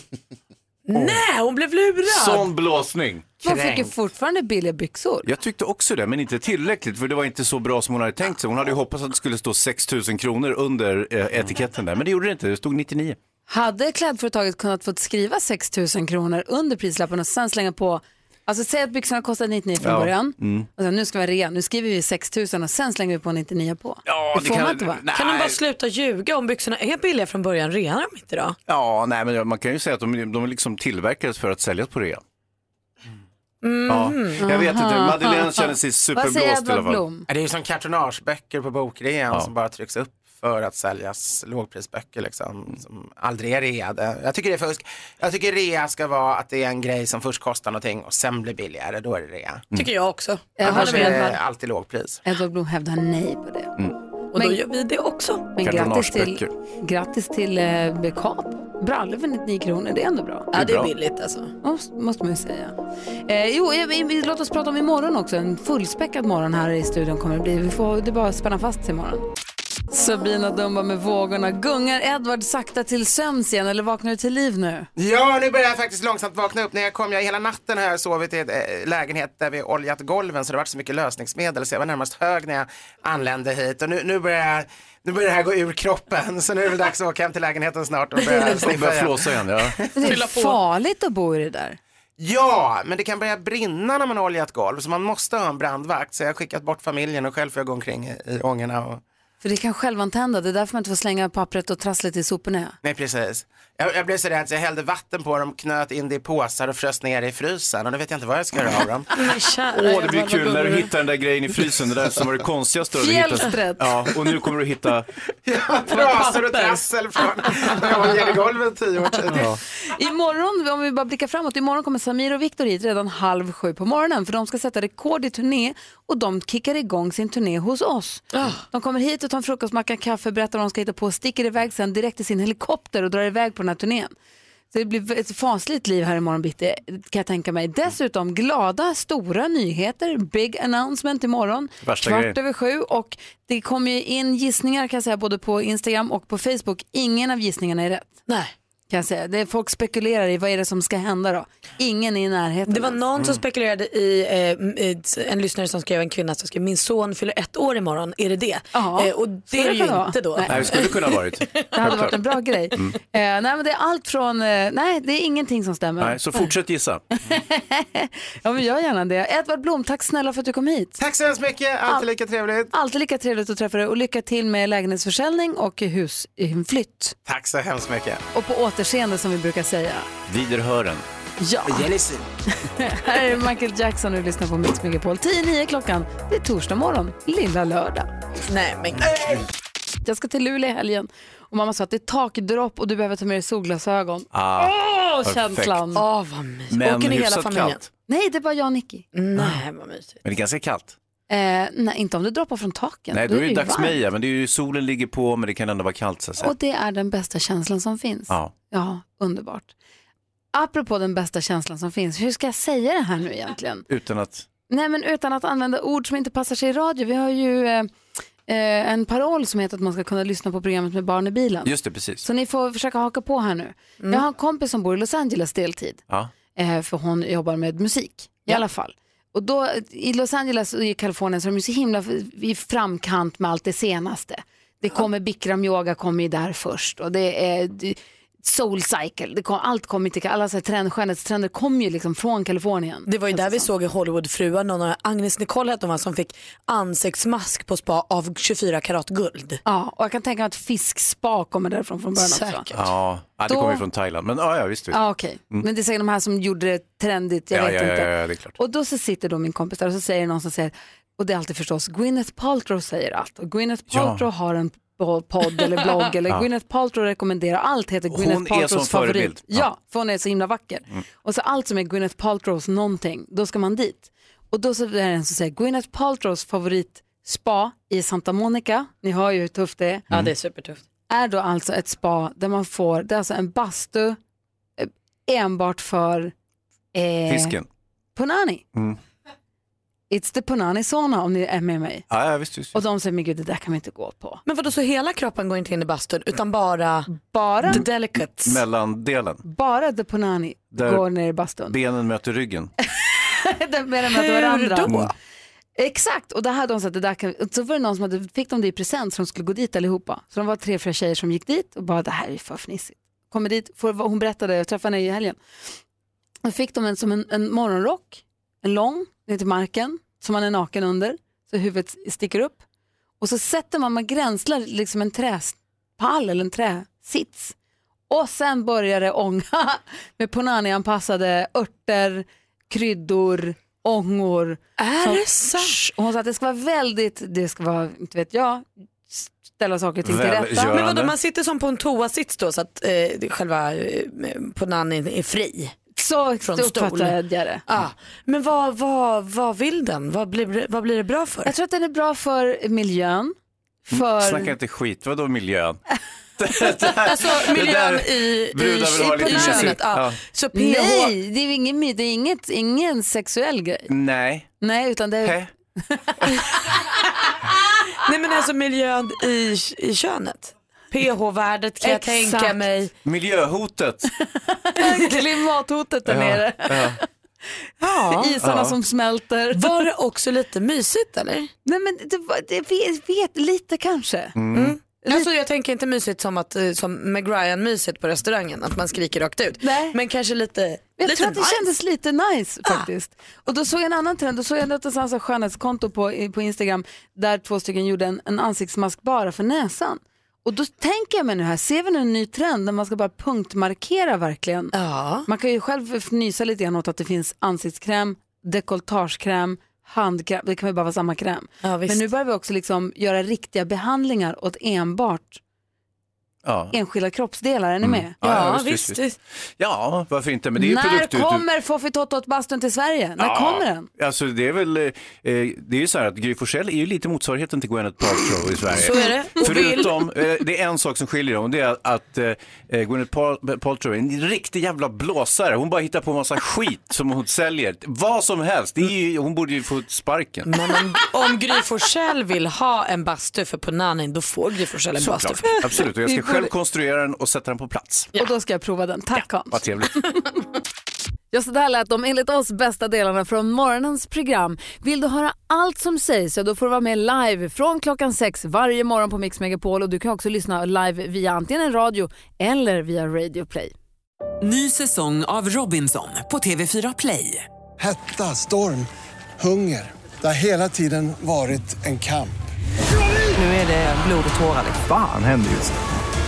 Speaker 2: Nej, hon blev lurad.
Speaker 3: Sån blåsning!
Speaker 1: Man fick ju fortfarande billiga byxor.
Speaker 3: Jag tyckte också det, men inte tillräckligt för det var inte så bra som hon hade tänkt sig. Hon hade ju hoppats att det skulle stå 6 000 kronor under eh, etiketten där, men det gjorde det inte. Det stod 99.
Speaker 1: Hade klädföretaget kunnat få skriva 6 000 kronor under prislappen och sen slänga på, alltså säg att byxorna kostade 99 från
Speaker 3: Ja.
Speaker 1: början,
Speaker 3: Mm.
Speaker 1: och sen, nu ska vi vara rea, nu skriver vi 6 000 och sen slänger vi på 99 på.
Speaker 3: Ja,
Speaker 1: det får man inte va?
Speaker 2: Kan de bara sluta ljuga om byxorna är billiga från början? Rear de inte då?
Speaker 3: Ja, nej, men man kan ju säga att de, de liksom tillverkades för att säljas på rea. Ja,
Speaker 1: Mm.
Speaker 3: jag vet inte,
Speaker 1: Aha.
Speaker 3: Madeleine känner sig superblåst i alla fall.
Speaker 22: Ja, Det är ju som kartonageböcker på bokrean som bara trycks upp för att säljas lågprisböcker liksom, som aldrig är reade. Jag tycker det är fusk. Jag tycker rea ska vara att det är en grej som först kostar någonting och sen blir billigare, då är det
Speaker 3: Mm.
Speaker 22: rea.
Speaker 2: Tycker jag också.
Speaker 1: Jag
Speaker 22: Annars
Speaker 1: håller
Speaker 22: är
Speaker 1: med.
Speaker 22: det alltid lågpris.
Speaker 1: Edward Blom hävdar nej på det.
Speaker 2: Och då gör vi det också.
Speaker 1: Men grattis till,
Speaker 3: Kartonageböcker.
Speaker 1: grattis till eh, Bekap. Brallor för 99 kronor, det är ändå bra.
Speaker 2: Ja, det är
Speaker 3: bra.
Speaker 2: billigt alltså.
Speaker 1: Måste, måste man ju säga. Eh, jo, eh, vi- vi- låt oss prata om imorgon också. En fullspäckad morgon här i studion kommer det bli. Vi får, det är bara att spänna fast sig imorgon. Sabina Dumba med vågorna. Gungar Edward sakta till sömns igen eller vaknar du till liv nu?
Speaker 22: Ja, nu börjar jag faktiskt långsamt vakna upp. När jag kom, jag hela natten har jag sovit i en lägenhet där vi oljat golven så det har varit så mycket lösningsmedel så jag var närmast hög när jag anlände hit. Och nu, nu, börjar, jag, nu börjar det här gå ur kroppen så nu är det väl dags att åka hem till lägenheten snart och börja
Speaker 3: De
Speaker 22: sniffa
Speaker 3: börjar
Speaker 22: igen.
Speaker 3: flåsa igen, ja.
Speaker 1: Men Det
Speaker 2: Fylla
Speaker 1: är
Speaker 2: på.
Speaker 1: farligt att bo i det där.
Speaker 22: Ja, men det kan börja brinna när man har oljat golv så man måste ha en brandvakt. Så jag har skickat bort familjen och själv får jag gå omkring i, i ångorna och
Speaker 1: För För det kan självantända, det är därför man inte får slänga pappret och trasslet i soporna.
Speaker 22: Nej, precis. Jag, jag blev så rädd så jag hällde vatten på dem, knöt in det i påsar och frös ner det i frysen. Och nu vet jag inte vad jag ska göra av dem.
Speaker 1: Men kära
Speaker 3: Åh, det blir
Speaker 1: jävlar,
Speaker 3: kul
Speaker 1: vad
Speaker 3: när du
Speaker 1: gullig.
Speaker 3: hittar den där grejen i frysen, det där som var det konstigaste. du hittade.
Speaker 1: Fjällsträd.
Speaker 3: Ja, och nu kommer du hitta...
Speaker 22: Trasor och trassel från när jag var nere i golvet tio år tidigare.
Speaker 3: Ja.
Speaker 1: Imorgon, om vi bara blickar framåt, imorgon kommer Samir och Viktor hit redan halv sju på morgonen för de ska sätta rekord i turné och de kickar igång sin turné hos oss. De kommer hit och tar en frukostmacka, kaffe, berättar vad de ska hitta på, sticker iväg sen direkt i sin helikopter och drar iväg på den här turnén. Så det blir ett fasligt liv här imorgon bitti kan jag tänka mig. Dessutom glada, stora nyheter, big announcement imorgon.
Speaker 3: Värsta
Speaker 1: Kvart
Speaker 3: grejen.
Speaker 1: över sju och det kommer ju in gissningar kan jag säga både på Instagram och på Facebook. Ingen av gissningarna är rätt.
Speaker 2: Nej.
Speaker 1: Kan jag säga. Det är folk spekulerar i vad är det som ska hända då. Ingen är i närheten.
Speaker 2: Det var någon som spekulerade i, eh, m- i en lyssnare som skrev en kvinna som skrev min son fyller ett år imorgon, är det det? Eh, och det
Speaker 1: det
Speaker 2: är det
Speaker 1: kan
Speaker 2: ju
Speaker 1: vara.
Speaker 2: inte då.
Speaker 1: Nej.
Speaker 3: Nej, det skulle kunna ha varit.
Speaker 1: Det hade varit en bra grej.
Speaker 3: Mm.
Speaker 1: Eh, nej, men det är allt från, eh, nej det är ingenting som stämmer.
Speaker 3: Nej, så fortsätt gissa.
Speaker 1: Ja men gör gärna det. Edvard Blom, tack snälla för att du kom hit.
Speaker 22: Tack så hemskt mycket, alltid lika trevligt.
Speaker 1: Alltid lika trevligt att träffa dig och lycka till med lägenhetsförsäljning och husinflytt.
Speaker 22: Tack så hemskt mycket.
Speaker 1: Och på återseende som vi brukar säga.
Speaker 3: Viderhören.
Speaker 1: Ja.
Speaker 22: Jealousy.
Speaker 1: Här är Michael Jackson och du lyssnar på Mix Megapol. 10-9 klockan, det är torsdag morgon, lilla lördag.
Speaker 2: Nej men
Speaker 1: Jag ska till Luleå i helgen och mamma sa att det är takdropp och du behöver ta med dig solglasögon.
Speaker 3: Ah,
Speaker 1: Åh,
Speaker 3: perfekt.
Speaker 1: känslan!
Speaker 2: Åh, vad mysigt.
Speaker 3: Men hyfsat kallt.
Speaker 1: Nej, det är bara jag och Nicky.
Speaker 2: Nej, vad mysigt.
Speaker 3: Men det är ganska kallt.
Speaker 1: Eh, nej, inte om det droppar från taken.
Speaker 3: Nej, då är det ju
Speaker 1: ju
Speaker 3: dags
Speaker 1: varmt.
Speaker 3: meja, men det är ju solen ligger på, men det kan ändå vara kallt så att säga.
Speaker 1: Och det är den bästa känslan som finns.
Speaker 3: Ja.
Speaker 1: Ja, underbart. Apropå den bästa känslan som finns, hur ska jag säga det här nu egentligen?
Speaker 3: Utan att...
Speaker 1: Nej, men utan att använda ord som inte passar sig i radio. Vi har ju eh, eh, en paroll som heter att man ska kunna lyssna på programmet med barn i bilen.
Speaker 3: Just det, precis.
Speaker 1: Så ni får försöka haka på här nu.
Speaker 3: Mm.
Speaker 1: Jag har en kompis som bor i Los Angeles deltid,
Speaker 3: Ja.
Speaker 1: eh, för hon jobbar med musik i alla fall. Och då, I Los Angeles och i Kalifornien så är de ju så himla f- i framkant med allt det senaste. Det kommer Bikram yoga kommer ju där först och det är d- Soul Cycle, det kom, allt kommer till alla så här trend, skönhetstrender kommer ju liksom från Kalifornien.
Speaker 2: Det var ju där vi såg i Hollywoodfruar, någon av Agnes Nicole hette hon va, som fick ansiktsmask på spa av 24 karat guld.
Speaker 1: Ja, och jag kan tänka mig att fiskspa kommer därifrån från början också.
Speaker 2: Säkert.
Speaker 3: Ja, ja det
Speaker 1: Då-
Speaker 3: kommer ju från Thailand. Men ja, ja visst. visst.
Speaker 1: Ja, okej. Men det är säkert de här som gjorde det trendigt, jag
Speaker 3: Mm. ja,
Speaker 1: vet
Speaker 3: ja,
Speaker 1: inte.
Speaker 3: Ja, ja, det är klart.
Speaker 1: Och då så sitter då min kompis där och så säger det någon som säger, och det är alltid förstås Gwyneth Paltrow säger allt. Och Gwyneth
Speaker 3: Ja.
Speaker 1: Paltrow har en po- podd eller blogg eller
Speaker 3: Ja.
Speaker 1: Gwyneth Paltrow rekommenderar allt heter
Speaker 3: Hon
Speaker 1: Gwyneth
Speaker 3: är
Speaker 1: Paltrows
Speaker 3: som
Speaker 1: favorit.
Speaker 3: förebild. Mm.
Speaker 1: Ja. för hon är så himla vacker. Och så allt som är Gwyneth Paltrows någonting, då ska man dit. Och då så är det en som säger Gwyneth Paltrows favorit spa i Santa Monica, ni hör ju hur tufft det är
Speaker 2: Ja, det är supertufft.
Speaker 1: är då alltså ett spa där man får, det är alltså en bastu eh, enbart för eh,
Speaker 3: Fisken.
Speaker 1: punani.
Speaker 3: Mm.
Speaker 1: It's the punani sauna om ni är med mig.
Speaker 3: Ja, ja, visst. visst.
Speaker 1: Och de säger, men gud det där kan vi inte gå på.
Speaker 2: Men vadå, så hela kroppen går inte in i bastun utan bara,
Speaker 1: Bara,
Speaker 2: the delicates?
Speaker 3: Mellandelen.
Speaker 1: bara the punani
Speaker 3: Där-
Speaker 1: går ner i bastun.
Speaker 3: Benen möter ryggen.
Speaker 1: Den med
Speaker 2: Hur
Speaker 1: varandra.
Speaker 2: då?
Speaker 1: Exakt, och det hade de sagt, det där kan, och så var det någon som hade, fick de det i present så de skulle gå dit allihopa. Så de var tre, fyra tjejer som gick dit och bara det här är för fnissigt. Kommer dit, får, hon berättade, jag träffade henne i helgen. Då fick de en, som en, en morgonrock, en lång, ner till marken, som man är naken under, så huvudet sticker upp. Och så sätter man, man gränslar liksom en träpall eller en träsits. Och sen börjar det ånga med ponani-anpassade örter, kryddor, ångor.
Speaker 2: Är
Speaker 1: Som-
Speaker 2: det sant?
Speaker 1: Shh. Och hon sa att det ska vara väldigt, det ska vara, inte vet jag, ställa saker och ting till rätta.
Speaker 3: Välgörande.
Speaker 2: Men vadå, man sitter som på en toasits då så att eh, det- själva eh, punanin är fri?
Speaker 1: Så
Speaker 2: Från
Speaker 1: så
Speaker 2: stol.
Speaker 1: uppfattar jag det.
Speaker 2: Ah, men vad, vad, vad vill den? Vad blir, det- vad blir det bra för?
Speaker 1: Jag tror att den är bra för miljön, för...
Speaker 3: Mm, Snacka inte skit, vadå miljön?
Speaker 2: Alltså miljön
Speaker 3: där
Speaker 2: i, i, i,
Speaker 3: brudar vill ha lite
Speaker 2: på
Speaker 3: mysigt.
Speaker 2: könet. Ah.
Speaker 3: Ja.
Speaker 2: Så PH,
Speaker 1: Nej, det är, ingen, my- det är inget, ingen sexuell grej.
Speaker 3: Nej.
Speaker 1: Nej, utan det är...
Speaker 3: Hä?
Speaker 2: nej men alltså miljön i, i könet. PH-värdet kan jag
Speaker 1: Exakt.
Speaker 2: tänka mig.
Speaker 3: Miljöhotet.
Speaker 1: Klimathotet där
Speaker 3: Ja,
Speaker 1: nere.
Speaker 3: ja.
Speaker 1: Isarna
Speaker 3: Ja.
Speaker 1: som smälter.
Speaker 2: Var det också lite mysigt eller?
Speaker 1: Nej men det, var- det vet, vet lite kanske. Mm.
Speaker 2: Alltså, jag tänker inte mysigt som, att, eh, som med Ryan-myset på restaurangen, att man skriker rakt ut.
Speaker 1: Nej.
Speaker 2: Men kanske lite
Speaker 1: Jag
Speaker 2: lite
Speaker 1: tror att det
Speaker 2: nice. Ah.
Speaker 1: kändes lite nice faktiskt. Och då såg jag en annan trend, då såg jag att det skönhetskonto på, i- på Instagram där två stycken gjorde en, en ansiktsmask bara för näsan. Och då tänker jag mig nu här, ser vi nu en ny trend där man ska bara punktmarkera verkligen? Man kan ju själv fnysa lite grann åt att det finns ansiktskräm, dekolletagekräm, handkräm, det kan ju bara vara samma kräm. Men nu börjar vi också liksom göra riktiga behandlingar åt enbart
Speaker 3: Ja.
Speaker 1: enskilda kroppsdelar, är ni med?
Speaker 3: Ja, varför inte? Men det är ju
Speaker 1: När
Speaker 3: produktutbud.
Speaker 1: kommer Foffitottot bastun till Sverige? När kommer den?
Speaker 3: Alltså det är väl, eh, det är ju så här att Gry Forssell är ju lite motsvarigheten till Gwyneth Paltrow i Sverige.
Speaker 1: Så är det. Och
Speaker 3: Förutom, eh, det är en sak som skiljer dem och det är att eh, Gwyneth Pal- Paltrow är en riktig jävla blåsare. Hon bara hittar på massa skit som hon säljer. Vad som helst. Det är ju, hon borde ju få sparken.
Speaker 2: Men om, om Gry Forssell vill ha en bastu för på nanin, då får Gry Forssell en bastu.
Speaker 3: Såklart,
Speaker 2: För.
Speaker 3: absolut. Och jag ska själv konstruera den och sätta den på plats.
Speaker 1: Och då ska jag prova den. Tack Hans.
Speaker 3: Vad trevligt.
Speaker 1: Ja, så där lät de enligt oss bästa delarna från morgonens program. Vill du höra allt som sägs så då får du vara med live från klockan sex varje morgon på Mix Megapol och du kan också lyssna live via antingen en radio eller via Radio Play.
Speaker 5: Ny säsong av Robinson på TV4 Play.
Speaker 8: Hetta, storm, hunger. Det har hela tiden varit en kamp.
Speaker 5: Nu är det blod och tårar.
Speaker 1: liksom.
Speaker 11: Fan händer just det.